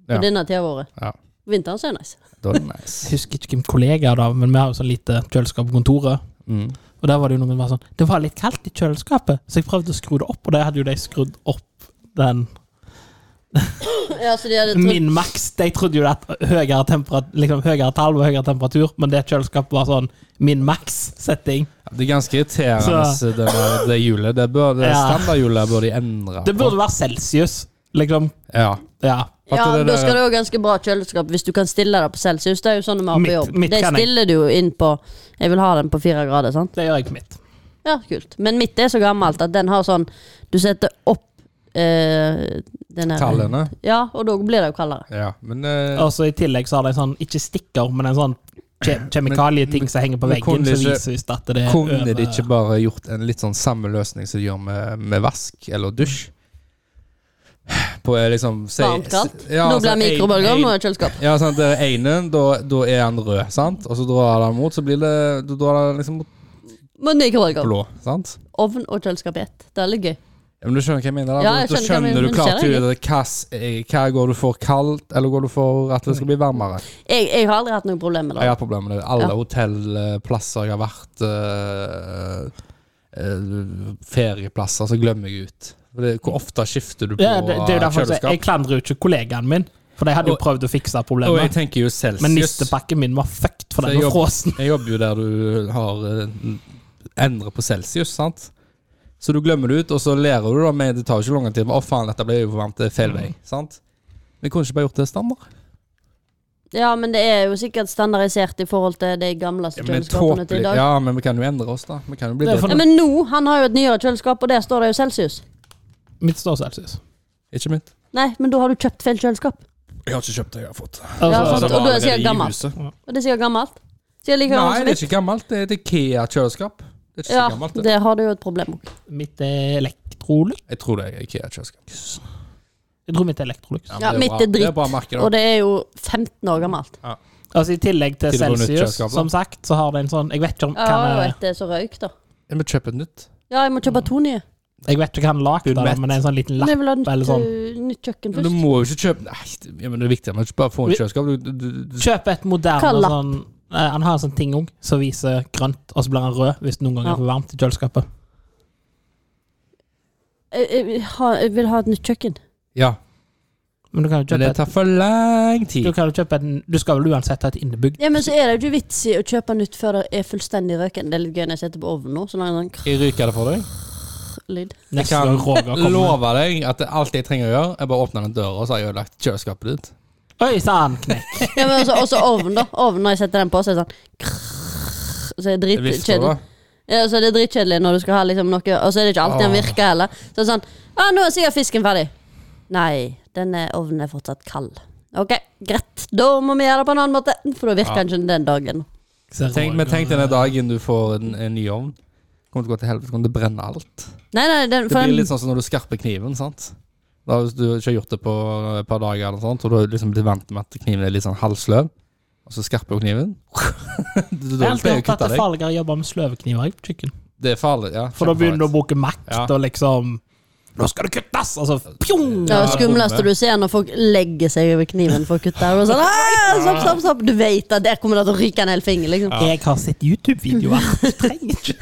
Speaker 1: På
Speaker 2: Ja.
Speaker 1: denne tida av året.
Speaker 2: Ja.
Speaker 1: Vinteren så er det nice.
Speaker 2: Da er det
Speaker 3: Jeg
Speaker 2: nice.
Speaker 3: husker ikke hvem kollega da, men vi har jo sånn lite kjøleskap på kontoret.
Speaker 2: Mm.
Speaker 3: Og der var det jo noen som var sånn Det var litt kaldt i kjøleskapet, så jeg prøvde å skru det opp, og der hadde jo de skrudd opp den
Speaker 1: Ja, så de hadde trodd
Speaker 3: Min maks. De trodde jo at høyere, temperat- liksom, høyere tall var høyere temperatur, men det kjøleskapet var sånn min maks-setting.
Speaker 2: Ja, Det er ganske irriterende,
Speaker 3: Så-
Speaker 2: det, der- det hjulet. Det, bør- det
Speaker 3: Ja.
Speaker 2: standardhjulet bør de endre.
Speaker 3: Det burde være celsius, liksom.
Speaker 2: Ja.
Speaker 3: Ja.
Speaker 1: Ja,
Speaker 2: Fatter det
Speaker 1: da
Speaker 2: der-
Speaker 1: skal du ha ganske bra kjøleskap hvis du kan stille det på celsius. Det er jo sånn vi har på
Speaker 3: Mitt-
Speaker 1: jobb.
Speaker 3: mitt
Speaker 1: De
Speaker 3: kan jeg.
Speaker 1: stiller du jo inn på Jeg vil ha den på fire grader, sant?
Speaker 3: Det gjør jeg på mitt.
Speaker 1: Ja, kult. Men mitt er så gammelt at den har sånn Du setter opp eh, den her-
Speaker 2: Tallene.
Speaker 1: Ja, og da blir det jo kaldere.
Speaker 2: Ja, men eh,
Speaker 3: Og så i tillegg så har de sånn, ikke stikker, men en sånn kje kjemikalieting som henger på
Speaker 2: men
Speaker 3: veggen,
Speaker 2: kunne
Speaker 3: som
Speaker 2: ikke-
Speaker 3: viser hvis at det er
Speaker 2: kunne de
Speaker 3: over-
Speaker 2: ikke bare gjort en litt sånn samme løsning som de gjør med, med vask eller dusj? På eh, liksom si-
Speaker 1: Varmt, kaldt.
Speaker 2: Ja,
Speaker 1: nå
Speaker 2: altså,
Speaker 1: blir det
Speaker 2: en-
Speaker 1: mikrobølger,
Speaker 2: en-
Speaker 1: nå er det kjøleskap.
Speaker 2: Ja, sant, det ene, da, da er han rød, sant? Og så drar han mot, så blir det Da drar han liksom mot
Speaker 1: Men mikrobølger.
Speaker 2: blå, sant?
Speaker 1: Ovn og kjøleskap i ett. Det er litt gøy.
Speaker 2: Ja, Men du skjønner hva jeg mener? Da,
Speaker 1: Ja, jeg
Speaker 2: da
Speaker 1: skjønner hva jeg
Speaker 2: skjønner du
Speaker 1: mener,
Speaker 2: klart
Speaker 1: men skjer det
Speaker 2: tydelig hva, s- eh, hva går du for kaldt, eller går du for at det skal bli varmere?
Speaker 1: Jeg, jeg har aldri hatt noe problem med
Speaker 2: Jeg
Speaker 1: det.
Speaker 2: har problemer med det. Alle
Speaker 1: Mm. Ja.
Speaker 2: hotellplasser jeg har vært eh, eh, Ferieplasser, så glemmer jeg ut. For det- Hvor ofte skifter du på
Speaker 3: ja, det, det er jo derfor jeg, jeg
Speaker 2: kjøleskap?
Speaker 3: klandrer jo ikke kollegaen min. For de hadde jo
Speaker 2: Og-
Speaker 3: prøvd å fikse
Speaker 2: Og jeg
Speaker 3: problemet.
Speaker 2: tenker jo
Speaker 3: Men
Speaker 2: celsius.
Speaker 3: nistepakken min var fucked, for
Speaker 2: Så
Speaker 3: den
Speaker 2: jeg
Speaker 3: var
Speaker 2: jobber-
Speaker 3: frossen.
Speaker 2: Jeg jobber jo der du har eh, endret på celsius, sant? Så du glemmer det ut, og så lærer du da med Det tar jo ikke lang tid. men, Å, faen, dette ble jo for varmt. Det er feil
Speaker 3: Mm.
Speaker 2: vei. Sant? Vi kunne ikke bare gjort det standard.
Speaker 1: Ja, men det er jo sikkert standardisert i forhold til de gamleste
Speaker 2: Men
Speaker 1: kjøleskapene til i dag.
Speaker 2: Ja, men vi kan jo endre oss, da. Vi kan jo bli
Speaker 3: Det er for-
Speaker 2: bedre.
Speaker 1: Ja, men nå, han har jo et nyere kjøleskap, og der står det jo Celsius.
Speaker 3: Mitt står Celsius.
Speaker 2: Ikke mitt.
Speaker 1: Nei, men da har du kjøpt feil kjøleskap.
Speaker 2: Jeg har ikke kjøpt det jeg har fått.
Speaker 1: Ja,
Speaker 3: Altså,
Speaker 1: sant.
Speaker 2: det
Speaker 1: og
Speaker 2: var
Speaker 1: du er sikkert
Speaker 2: allerede i
Speaker 1: gammel.
Speaker 2: huset.
Speaker 1: Og det er sikkert gammelt. Sikkert like
Speaker 2: Nei, det
Speaker 1: gammelt
Speaker 2: er ikke gammelt. Det er et Ikea-kjøleskap. Det er ikke
Speaker 1: som
Speaker 2: så gammelt,
Speaker 1: mitt. Ja,
Speaker 2: det.
Speaker 1: det har du jo et problem med.
Speaker 3: Mitt er Electrolux.
Speaker 2: Jeg tror det er Ikea-kjøleskap.
Speaker 3: Jeg tror mitt er Electrolux.
Speaker 1: Ja,
Speaker 2: men det
Speaker 1: mitt
Speaker 2: bra.
Speaker 1: er dritt,
Speaker 2: Det er bra merke,
Speaker 1: Og
Speaker 2: da.
Speaker 1: det er jo 15 år gammelt.
Speaker 3: Altså I tillegg til
Speaker 2: Til å gå nytt
Speaker 3: Celsius,
Speaker 2: kjøleskap, da.
Speaker 3: som sagt, så har det en sånn Jeg vet ikke om
Speaker 1: Ja,
Speaker 3: hva
Speaker 1: og
Speaker 3: jeg,
Speaker 1: et er så røyk, da.
Speaker 2: Jeg må kjøpe et nytt.
Speaker 1: Ja, jeg må kjøpe to nye.
Speaker 3: jeg vet ikke hva han lagde, da,
Speaker 2: Bunvett.
Speaker 3: men det er en sånn liten
Speaker 1: Men jeg
Speaker 3: lapp.
Speaker 1: vil ha nytt,
Speaker 3: eller sånn.
Speaker 1: øh, nytt kjøkken
Speaker 2: Men du
Speaker 1: først.
Speaker 2: må jo ikke kjøpe Nei, det, ja, men det er viktig. Man ikke bare få
Speaker 3: Vi-
Speaker 2: et kjøleskap. Du, du, du,
Speaker 3: Kjøp et
Speaker 1: Hva
Speaker 3: moderne
Speaker 1: lapp?
Speaker 3: sånn eh, Han har en sånn ting òg som viser grønt, og så blir han rød hvis det noen ganger
Speaker 1: Ja.
Speaker 3: er for varmt i kjøleskapet.
Speaker 1: Jeg, jeg, vil ha, eh, jeg vil ha et nytt kjøkken.
Speaker 2: ja,
Speaker 3: Men du kan jo
Speaker 2: men
Speaker 3: kjøpe
Speaker 2: det
Speaker 3: et
Speaker 2: tar for lang
Speaker 3: du,
Speaker 2: tid.
Speaker 3: kan jo kjøpe en, du skal vel uansett ha et innebygd
Speaker 1: Ja, Men så er det jo ikke vits i å kjøpe nytt før det er fullstendig røken. Det er litt gøy når jeg setter på ovnen nå, så lager jeg sånn
Speaker 2: Jeg ryker det for deg.
Speaker 1: krr-lyd.
Speaker 3: neste
Speaker 2: kan
Speaker 3: gang Roger kommer.
Speaker 2: Lover deg at det- alt jeg trenger å gjøre, er bare å åpne den døra, og så har jeg ødelagt kjøleskapet ditt.
Speaker 3: Oi sann, knekk!
Speaker 1: Ja, men også, også ovnen, da. Ovnen, når jeg setter den på, så er det sånn krr, Så er det
Speaker 2: Det visste du,
Speaker 1: dritkjedelig.
Speaker 2: da.
Speaker 1: Ja, så er det dritkjedelig når du skal ha liksom noe Og så er det ikke alltid den
Speaker 2: Åh.
Speaker 1: virker heller. Så er det sånn Ja, nå er sikkert fisken ferdig. Nei, denne ovnen er fortsatt kald. Ok, greit. Da må vi gjøre det på en annen måte, for da virker
Speaker 2: Ja.
Speaker 1: den ikke den dagen.
Speaker 2: Tenk, men tenk denne dagen du får en, en ny ovn. Kommer til å gå til helvete. Kommer til å brenne alt.
Speaker 1: Nei, nei, den,
Speaker 2: Det
Speaker 1: for
Speaker 2: blir
Speaker 1: den
Speaker 2: litt sånn som når du skarper kniven, sant? Da Hvis du ikke har gjort det på et par dager, eller noe sånt, og du har liksom blitt vant med at kniven er litt sånn halvsløv, og så skarper du kniven Du
Speaker 3: Jeg
Speaker 2: da pleier
Speaker 3: har alltid
Speaker 2: å
Speaker 3: hørt at
Speaker 2: kutte
Speaker 3: det er
Speaker 2: deg.
Speaker 3: farligere å jobbe med sløvekniver i kjøkken.
Speaker 2: Det er farlig, ja.
Speaker 3: For da begynner du å
Speaker 2: kjempefarlig.
Speaker 3: bruke makt
Speaker 2: Ja.
Speaker 3: og liksom Nå skal det kuttes! Og så pjong!
Speaker 1: ja, det
Speaker 2: Ja,
Speaker 1: skumleste
Speaker 2: bombe.
Speaker 1: du ser når folk legger seg over kniven for å kutte. her, Og sånn, «Ah, stopp, stopp, stopp. Du vet at der kommer det til å ryke en hel finger, liksom.
Speaker 3: Jeg har sett YouTube-videoer. Du trenger ikke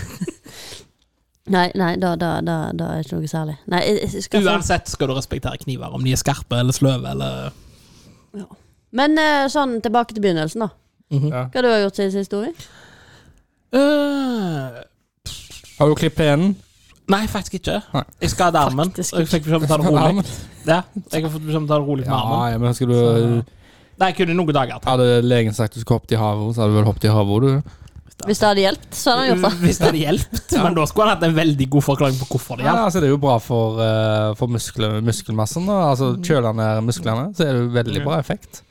Speaker 1: Nei, nei, da, da, da, da er det ikke noe særlig. Nei, jeg, jeg skal få
Speaker 3: Uansett skal du respektere kniver, om de er skarpe eller sløve eller
Speaker 1: Men eh, sånn tilbake til begynnelsen, da.
Speaker 2: Ja.
Speaker 1: Hva du har gjort siden sist, Tori? Eh,
Speaker 3: Øh,
Speaker 2: Har du klippet penen?
Speaker 3: Nei, faktisk ikke.
Speaker 2: Nei.
Speaker 3: Jeg skal ha armen.
Speaker 1: Faktisk
Speaker 3: Og jeg fikk beskjed om å ta det rolig. Ja, jeg har fått beskjed om å ta det rolig med
Speaker 2: Ja,
Speaker 3: armen.
Speaker 2: ja, men husker du
Speaker 3: Nei, jeg kunne noen dager.
Speaker 2: Hadde legen sagt du skulle hoppe i havet, så hadde du vel hoppet i havet, du?
Speaker 1: Hvis det hadde hjulpet, så hadde han gjort det.
Speaker 3: Hvis det hadde hjulpet. Men da skulle han hatt en veldig god forklaring på hvorfor det
Speaker 2: Ja,
Speaker 3: hjalp.
Speaker 2: altså Det er jo bra for, eh, for muskler, muskelmassen. Da. Altså Kjøler ned musklene, så er det jo
Speaker 3: Mm.
Speaker 2: veldig bra effekt.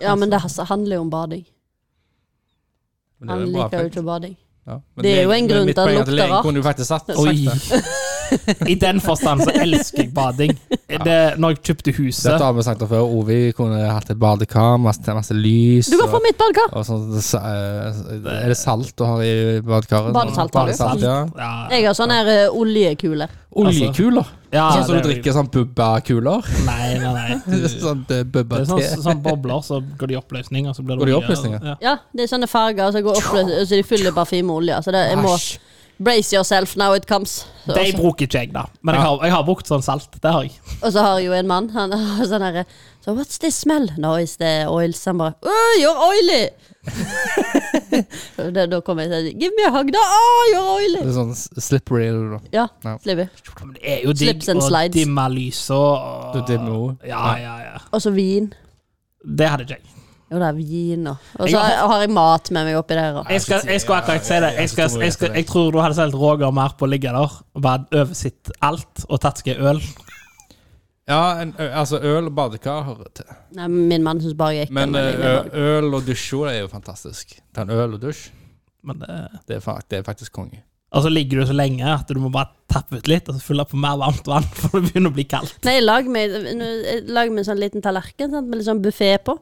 Speaker 1: Ja, men det has- handler jo om bading.
Speaker 2: Men det er
Speaker 1: Han
Speaker 2: jo en bra
Speaker 1: liker jo
Speaker 2: effekt.
Speaker 1: ikke bading.
Speaker 2: Ja. Men
Speaker 1: Det er jo
Speaker 2: legen-
Speaker 1: en
Speaker 2: men
Speaker 1: grunn
Speaker 2: mitt
Speaker 1: til at
Speaker 2: poeng er
Speaker 1: det lukter
Speaker 2: legen
Speaker 1: rart.
Speaker 2: Kunne jo faktisk sagt, sagt
Speaker 3: Oi.
Speaker 2: det.
Speaker 3: I den forstand så elsker jeg bading. Det, når jeg kjøpte
Speaker 2: Dette
Speaker 3: huset
Speaker 2: har vi sagt før. Ovi kunne hatt et badekar, masse, masse lys.
Speaker 1: Du går for
Speaker 2: og,
Speaker 1: mitt badekar!
Speaker 2: og sånn, sa- eh, er det salt du har i badekaret?
Speaker 1: Badesalt har du.
Speaker 2: Badesalt, ja.
Speaker 3: Ja,
Speaker 1: Jeg har sånne her eh, oljekuler.
Speaker 2: Oljekuler.
Speaker 3: ja,
Speaker 1: Altså-
Speaker 2: sånn som
Speaker 3: det
Speaker 2: du
Speaker 3: er-
Speaker 2: drikker sånn bubba-kuler.
Speaker 3: Nei, nei, nei. Du,
Speaker 2: sånn eh,
Speaker 3: det er sånn,
Speaker 2: bubba-te.
Speaker 3: sånn bobler, så går de i oppløsning. Og så blir det
Speaker 2: Går de i
Speaker 3: olje,
Speaker 2: oppløsning, ja?
Speaker 3: og- ja.
Speaker 1: Ja, det er sånne farger, så, går oppløs, så de fyller parfyme og olje. Så det, jeg må
Speaker 2: Æsj.
Speaker 1: brace yourself now it comes. Så-
Speaker 3: De
Speaker 1: Og
Speaker 3: bruker ikke jeg, da. Men jeg har, jeg har brukt sånn salt. Det har jeg.
Speaker 1: så- og så har jeg jo en mann, han har sånn herre so What's this smell? No, is the oil? Så han bare Oh, you're oily! Og da, da kommer jeg og sier Give me a hug, da! Oh, you're
Speaker 2: Det
Speaker 1: oily!
Speaker 2: er sånn s- slippery. eller noe.
Speaker 1: Ja,
Speaker 2: Ja.
Speaker 1: slipper.
Speaker 3: Men det er jo digg
Speaker 1: Slips and
Speaker 3: å
Speaker 1: slides.
Speaker 3: dimme lyset og
Speaker 1: Ah,
Speaker 2: Du dimmer jo.
Speaker 3: Ja, ja, ja.
Speaker 1: Og så vin.
Speaker 3: Det hadde ikke jeg.
Speaker 1: Jo, det er vin, og Og
Speaker 3: Jeg
Speaker 1: så
Speaker 3: har-
Speaker 1: har jeg mat med meg oppi der. Og.
Speaker 3: Jeg, skal, jeg skal akkurat si det. Jeg, skal, jeg, skal, jeg tror du hadde solgt Roger mer på å ligge der og bare oversitt alt og tatt seg øl.
Speaker 2: Ja, en, ø- altså øl og badekar hører til.
Speaker 1: Nei, min mann syns bare jeg gikk
Speaker 2: Men eh,
Speaker 1: den
Speaker 2: ø,
Speaker 3: eh,
Speaker 1: veien med badekar.
Speaker 2: øl og dusj også er jo fantastisk. Ta en øl og dusj,
Speaker 3: Men det,
Speaker 2: det er, fa det er faktisk konge.
Speaker 3: og så ligger du så lenge at du må bare tappe ut litt og så fylle på mer varmt vann, for det begynner å bli kaldt.
Speaker 1: Nei, jeg lager meg, jeg lager meg en sånn liten tallerken sant? med litt sånn buffé på.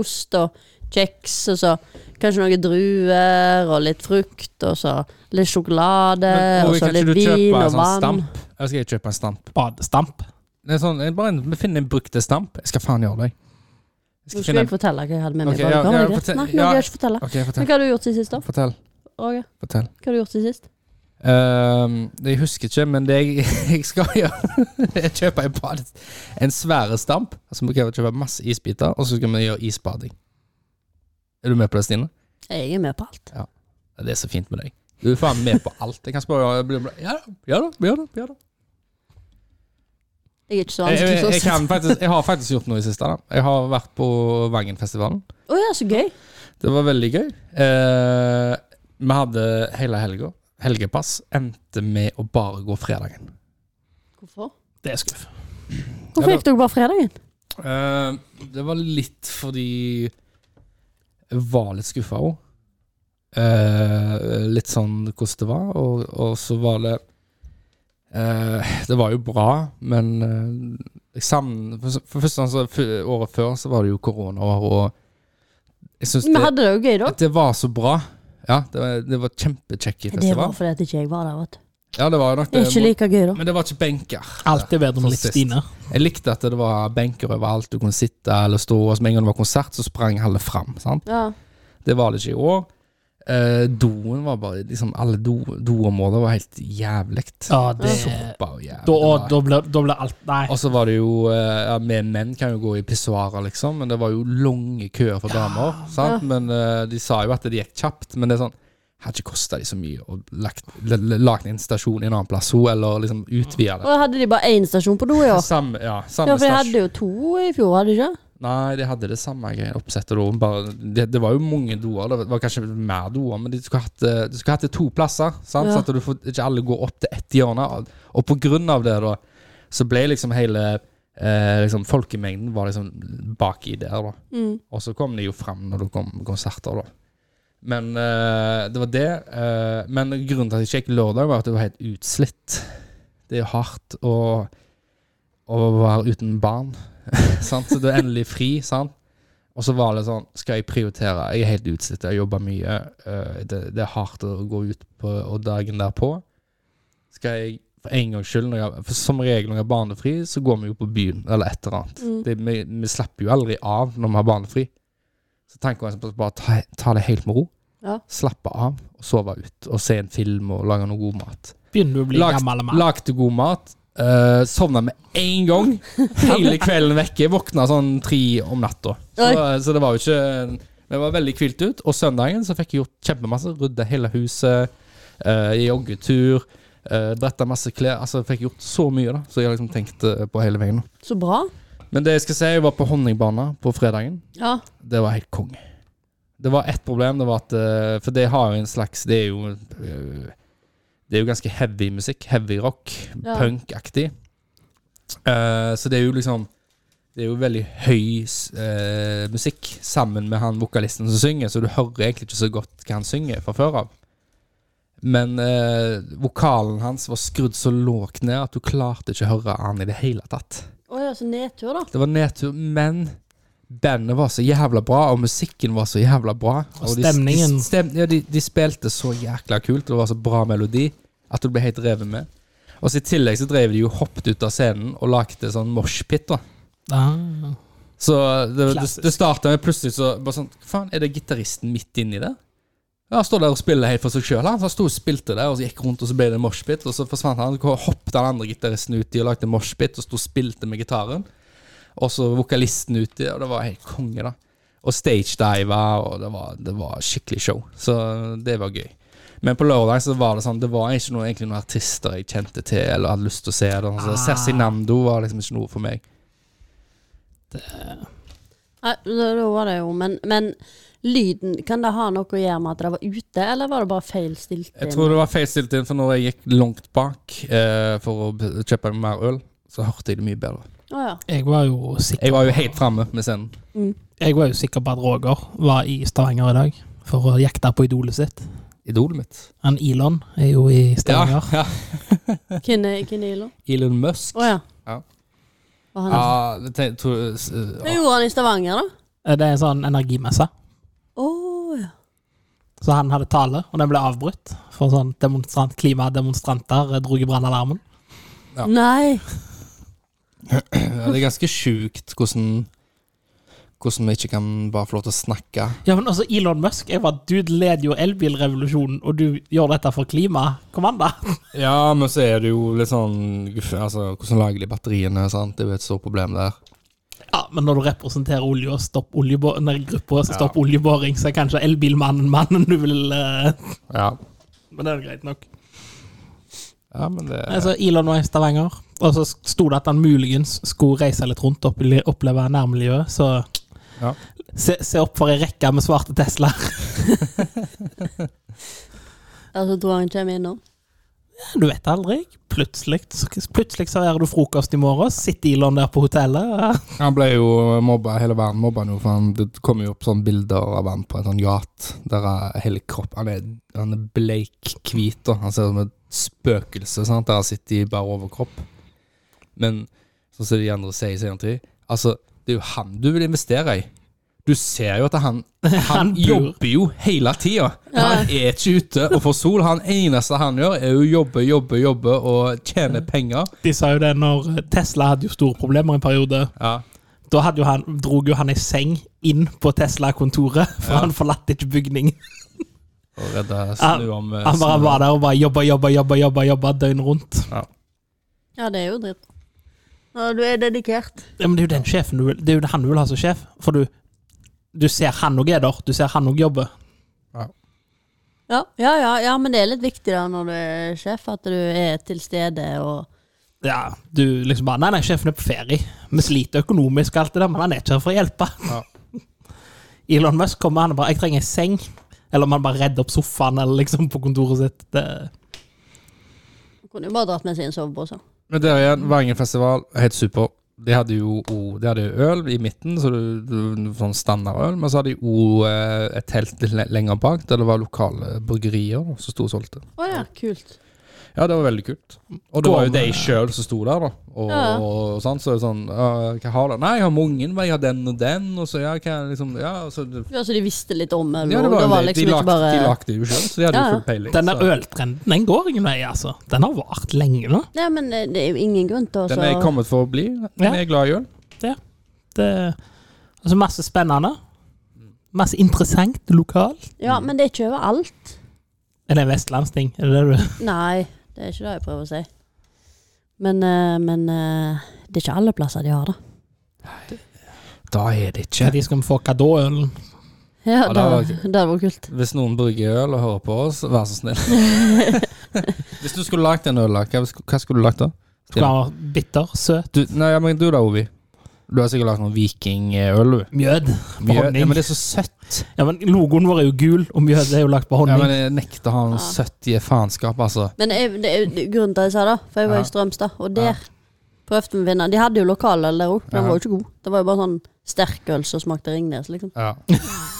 Speaker 1: Ost og kjeks, og så kanskje noen druer og litt frukt, og så litt sjokolade, Eh, og
Speaker 2: Ovi,
Speaker 1: så
Speaker 2: kan
Speaker 1: litt
Speaker 2: ikke du
Speaker 1: vin
Speaker 2: kjøpe
Speaker 1: og
Speaker 2: en sånn
Speaker 1: vann.
Speaker 2: stamp? Jeg skal jeg kjøpe en stamp.
Speaker 3: Badestamp.
Speaker 2: Det er sånn, jeg bare en- finn en brukte stamp. Jeg skal faen gjøre det. Jeg
Speaker 1: Nå
Speaker 2: skal
Speaker 1: skal
Speaker 2: finne
Speaker 1: jeg
Speaker 2: en
Speaker 1: fortelle hva jeg hadde med meg.
Speaker 2: Ok,
Speaker 1: i
Speaker 2: ja,
Speaker 1: badekar,
Speaker 2: ja,
Speaker 1: var det greit?
Speaker 2: fortell-
Speaker 1: Nei, nå vil jeg ikke fortelle.
Speaker 2: Ok,
Speaker 1: Men
Speaker 2: fortell.
Speaker 1: hva har du gjort siden sist, da?
Speaker 2: Fortell.
Speaker 1: Roger?
Speaker 2: fortell.
Speaker 1: Hva har du gjort siden sist?
Speaker 2: Ehm, jeg husker ikke, men det jeg, jeg skal gjøre Jeg kjøper en, bad, en svære stamp. altså, Så må jeg kjøpe masse isbiter, og så skal vi gjøre isbading. Er du med på det, Stine?
Speaker 1: Jeg er med på alt.
Speaker 2: Ja, Det er så fint med deg. Du er faen med på alt. Jeg kan spørre jeg blir- Ja da, ja da, ja da. Ja, da.
Speaker 1: Jeg er ikke så
Speaker 2: Jeg,
Speaker 1: vanskelig
Speaker 2: jeg, jeg,
Speaker 1: sånn.
Speaker 2: kan faktisk, jeg har faktisk gjort noe i det siste. Da. Jeg har vært på Vangenfestivalen.
Speaker 1: Å ja, så gøy.
Speaker 2: Det var veldig gøy. Eh, vi hadde hele helga. Helgepass endte med å bare gå fredagen.
Speaker 1: Hvorfor?
Speaker 3: Det er skuff.
Speaker 2: Ja,
Speaker 1: Hvorfor
Speaker 2: det-
Speaker 1: gikk dere bare fredagen?
Speaker 2: Eh, det var litt fordi jeg var litt skuffa òg. litt sånn hvordan det var, og, og så var det eh, Det var jo bra, men eh, jeg savner For, for første gang så, f- året før så var det jo koronaår, og jeg syns
Speaker 1: Vi
Speaker 2: det,
Speaker 1: hadde det jo gøy da.
Speaker 2: det var så bra. Ja, det var, det var kjempekjekk
Speaker 1: Det var
Speaker 2: festival.
Speaker 1: fordi at ikke jeg var der, vet du.
Speaker 2: Ja, det var nok
Speaker 1: Det
Speaker 2: det.
Speaker 1: er ikke like gøy da.
Speaker 2: Men det var ikke benker.
Speaker 3: Alt er bedre
Speaker 2: for
Speaker 3: med litt
Speaker 2: sist.
Speaker 3: Stine.
Speaker 2: Jeg likte at det var benker overalt, du kunne sitte eller stå, og så med en gang det var konsert, så sprang alle fram. sant?
Speaker 1: Ja.
Speaker 2: Det var det ikke i år. Eh, doen var bare liksom Alle do- doområder var helt jævlig.
Speaker 3: Ja, det
Speaker 2: Såpa og jævlig.
Speaker 3: Da,
Speaker 2: det
Speaker 3: å,
Speaker 2: var.
Speaker 3: da, blir, da blir alt Nei.
Speaker 2: Og så var det jo eh, ja, Vi menn kan jo gå i pissoarer, liksom, men det var jo lange køer for damer. sant? Men eh, De sa jo at det gikk kjapt, men det er sånn Hadde ikke kosta de så mye å lagt, l- l- lagt en stasjon i en annen plass, hun, eller liksom utvide det.
Speaker 1: Og hadde de bare én stasjon på do i år?
Speaker 2: Samme, ja,
Speaker 1: Ja,
Speaker 2: samme
Speaker 1: for de
Speaker 2: stasjon.
Speaker 1: hadde jo to i fjor, hadde de ikke?
Speaker 2: Nei, de hadde det samme greia oppsettet. da, bare- Det, det var jo mange doer. Det var kanskje mer doer, men de skulle hatt, eh, de skulle hatt det to plasser. Sant?
Speaker 1: Ja.
Speaker 2: Så at du får, ikke alle går opp til ett hjørne. Og- Og på grunn av det, da, så ble liksom hele eh, liksom, Folkemengden var liksom baki der, da. Og så kom de jo fram når det kom konserter, da. Men eh, det var det. eh, men grunnen til at jeg ikke gikk lørdag, var at det var helt utslitt. Det er jo hardt å, å være uten barn sant? Så du er endelig fri, sant? Og så var det sånn, skal jeg prioritere? Jeg er helt utslitt, jeg jobber mye. eh, Det, det er hardt å gå ut på og dagen derpå. Skal jeg for en gangs skyld, når jeg, for som regel når jeg er barnefri, så går vi jo på byen eller et eller annet. Det, vi, vi slapper jo aldri av når vi har barnefri. Så tanken var sånn, bare ta, ta det helt med ro.
Speaker 1: Ja.
Speaker 2: Slappe av og sove ut og se en film og lage noe god mat.
Speaker 3: Begynner du å bli
Speaker 2: Lagt-
Speaker 3: gammel mann?
Speaker 2: Lagde god mat. Uh, sovna med en gang. Hele kvelden vekke. Våkna sånn tre om natta. Så, så det var jo ikke Det var veldig hvilt ut. Og søndagen så fikk jeg gjort kjempemasse. Rydda hele huset. eh, joggetur. Uh, Bretta masse klær. Altså fikk gjort så mye, da. Så jeg har liksom tenkt eh, på hele veien. da.
Speaker 1: Så bra.
Speaker 2: Men det jeg skal si, jeg var på Honningbana på fredagen.
Speaker 1: Ja.
Speaker 2: Det var helt konge. Det var ett problem, det var at eh, For det har jo en slags Det er jo eh, Det er jo ganske heavy musikk. Heavy rock.
Speaker 1: Ja.
Speaker 2: Punkaktig. Eh, så det er jo liksom Det er jo veldig høy eh, musikk sammen med han vokalisten som synger, så du hører egentlig ikke så godt hva han synger fra før av. Men eh, vokalen hans var skrudd så lågt ned at du klarte ikke å høre han i det hele tatt.
Speaker 1: Å ja, så nedtur, da.
Speaker 2: Det var nedtur, men bandet var så jævla bra, og musikken var så jævla bra.
Speaker 3: Og
Speaker 2: de-
Speaker 3: stemningen.
Speaker 2: De, stem, ja, de, de spilte så jækla kult, og det var så bra melodi at du ble helt revet med. Og så I tillegg så drev de jo hoppet ut av scenen og lagde sånn moshpit. da.
Speaker 3: Ah.
Speaker 2: Så det, det,
Speaker 3: Klassisk.
Speaker 2: det starta med plutselig så bare sånn Faen, er det gitaristen midt inni der? Ja, Han står der og spiller helt for seg sjøl. Han Så han sto og spilte der, og så gikk rundt, og så ble det en moshpit. Og så forsvant han. Så hoppet den andre gitaristen uti og lagde en moshpit, og sto og spilte med gitaren. Og så vokalisten uti, og det var helt konge, da. Og stagediva, og det var, det var skikkelig show. Så det var gøy. Men på lørdag så var det sånn Det var ikke noe, egentlig noen artister jeg kjente til eller hadde lyst til å se. Da. Så
Speaker 3: Ah.
Speaker 2: Cezinando var liksom ikke noe for meg.
Speaker 1: Nei, da, da var det jo men, men lyden, kan det ha noe å gjøre med at det var ute, eller var det bare feil stilt
Speaker 2: Jeg
Speaker 1: inn?
Speaker 2: tror det var feilstilt inn, for når jeg gikk langt bak eh, for å b- kjøpe mer øl, så hørte jeg det mye bedre.
Speaker 1: Å ja.
Speaker 3: Jeg var jo
Speaker 2: Jeg
Speaker 3: sikker,
Speaker 2: var jo helt framme med scenen.
Speaker 3: jeg var jo sikker på at Roger var i Stavanger i dag for å jakte på idolet sitt.
Speaker 2: Idolet mitt.
Speaker 3: Han Elon er jo i Stavanger.
Speaker 2: ja.
Speaker 1: Hvem er hvem er Ilo?
Speaker 2: Elon Musk.
Speaker 1: Å ja.
Speaker 2: Ja.
Speaker 1: Var han,
Speaker 2: Ja, det te- tror- s- eh,
Speaker 1: Hva
Speaker 2: ja.
Speaker 1: gjorde han i Stavanger, da?
Speaker 3: Det er en sånn energimesse.
Speaker 1: Å ja.
Speaker 3: Så han hadde tale, og den ble avbrutt. For sånn demonstrant, klimademonstranter eh, dro i brannalarmen.
Speaker 2: Ja.
Speaker 1: Nei.
Speaker 2: Ja, det er ganske sjukt hvordan Hvordan vi ikke kan bare få lov til å snakke.
Speaker 3: Ja, men altså Elon Musk jeg var, Du leder jo elbilrevolusjonen, og du gjør dette for klimaet. Kom an, da.
Speaker 2: Ja, men så er det jo litt sånn guff, altså, Hvordan lager de batteriene? sant? Det er jo et stort problem der.
Speaker 3: Ja, men når du representerer olje og stopp oljebå- nei, gruppa som stopper oljeboring, så er kanskje elbilmannen mannen du vil eh,
Speaker 2: Ja,
Speaker 3: Men det er jo greit nok.
Speaker 2: ja men det
Speaker 3: Altså, Elon var i Stavanger, og så sto det at han muligens skulle reise litt rundt og opple- oppleve nærmiljøet, så
Speaker 2: Ja.
Speaker 3: se, se opp for ei rekke med svarte Teslaer.
Speaker 1: Altså, tror han kommer innom.
Speaker 3: Du vet aldri. Plutselig, så- plutselig serverer du frokost i morgen, sitter Elon der på hotellet.
Speaker 2: Han ble jo mobba, hele verden mobba nå, for han, det kom jo opp sånne bilder av han på en sånn yacht, der er hele kroppen Han er, han er bleik hvit, og han ser ut som et spøkelse, sant, der han sitter i bare overkropp. Men sånn som de andre sier i senere tid, altså, det er jo han du vil investere i. Du ser jo at han, han,
Speaker 3: Han bor.
Speaker 2: jobber jo hele tida. Han er ikke ute og får sol. Han eneste han gjør, er jo jobbe, jobbe, jobbe og tjene penger.
Speaker 3: De sa jo det når eh, Tesla hadde jo store problemer i en periode.
Speaker 2: Ja.
Speaker 3: Da hadde jo han, drog jo han ei seng inn på Tesla-kontoret, for han forlatt ikke bygningen.
Speaker 2: Og redde
Speaker 3: Han-
Speaker 2: snu om eh,
Speaker 3: Han bare
Speaker 2: snu om.
Speaker 3: var der og bare jobba, jobba, jobba, jobba, jobba døgnet rundt.
Speaker 1: Ja, det er jo dritt. Ja, du er dedikert.
Speaker 3: Ja, men det er jo den sjefen du vil, det er jo han du vil ha som sjef, for du, du ser han òg er der. Du ser han òg jobber.
Speaker 1: Ja, ja, ja, ja, men det er litt viktig da når du er sjef, at du er til stede og
Speaker 3: Ja, du liksom bare Nei, nei, sjefen er på ferie. Vi sliter økonomisk og alt det der, men han er ikke her for å hjelpe.
Speaker 2: Ja.
Speaker 3: Elon Musk kommer han og bare 'Jeg trenger en seng'. Eller om han bare redder opp sofaen eller liksom på kontoret sitt. Det,
Speaker 1: Kunne jo bare dratt med seg en sovepose.
Speaker 2: Men der igjen, Vangen festival, helt super. De hadde jo o- de hadde jo øl i midten, så du- du- sånn standardøl. Men så hadde de òg et telt litt le- lenger bak, der det var lokale burgerier da, som sto og solgte.
Speaker 1: Å ja, kult.
Speaker 2: Ja, det var veldig kult. Og det var jo
Speaker 3: Kom,
Speaker 2: de sjøl som sto der, da. Og,
Speaker 1: Ja.
Speaker 2: og sånn, så er det sånn «Ja, Hva har du? Nei, jeg har mange, men jeg har den og den, og så ja, hva liksom Ja, og så
Speaker 1: Ja, så de visste litt om øl,
Speaker 2: ja, det
Speaker 1: og
Speaker 2: var,
Speaker 1: det var
Speaker 2: jo det.
Speaker 1: liksom
Speaker 2: de,
Speaker 1: ikke
Speaker 2: lagde,
Speaker 1: bare
Speaker 2: de lagde det jo sjøl, så de hadde
Speaker 1: Ja, ja.
Speaker 2: jo full peiling.
Speaker 3: den der
Speaker 2: så.
Speaker 3: øltrenden, den går ingen vei, altså. Den har vart lenge nå.
Speaker 1: Nei, men eh, det det er jo ingen grunn til å
Speaker 2: Den er kommet for å bli. Den
Speaker 3: Ja.
Speaker 2: er glad i øl.
Speaker 3: Det, altså masse spennende. Masse interessant lokalt.
Speaker 1: Ja, men det er ikke overalt.
Speaker 3: Er det en vestlandsting? Er det det du
Speaker 1: Nei, det er ikke det jeg prøver å si. Men, eh, men eh, det er ikke alle plasser de har det.
Speaker 2: Da er det ikke
Speaker 3: ja, De skal få Kadå-ølen.
Speaker 1: Ja,
Speaker 2: det
Speaker 1: det
Speaker 2: var
Speaker 1: det hadde vært kult.
Speaker 2: Hvis noen bruker øl og hører på oss, vær så snill. Hvis du skulle lagd en øl, da, hva hva skulle du lagd da?
Speaker 3: Skal være bitter, søt.
Speaker 2: Du, nei, men du da, Ovi? Du har sikkert lagd noen vikingøl, du.
Speaker 3: Mjød.
Speaker 2: Mjø-
Speaker 3: Honning.
Speaker 2: Ja, men det er så søtt.
Speaker 3: Ja, men Logoen vår er jo gul, og mjød er jo lagt på
Speaker 2: Ja,
Speaker 3: honning.
Speaker 2: men Jeg nekter å ha noe søtt i faenskap, altså.
Speaker 1: Men jeg, det er jo grunnen til at jeg sa det, for jeg var
Speaker 2: Ja.
Speaker 1: i Strømstad, og der prøvde vi å vinne. De hadde jo lokaløl der òg, den
Speaker 2: Ja.
Speaker 1: var jo ikke god. Det var jo bare sånn sterkøl som smakte Ringnes, liksom.
Speaker 2: Ja.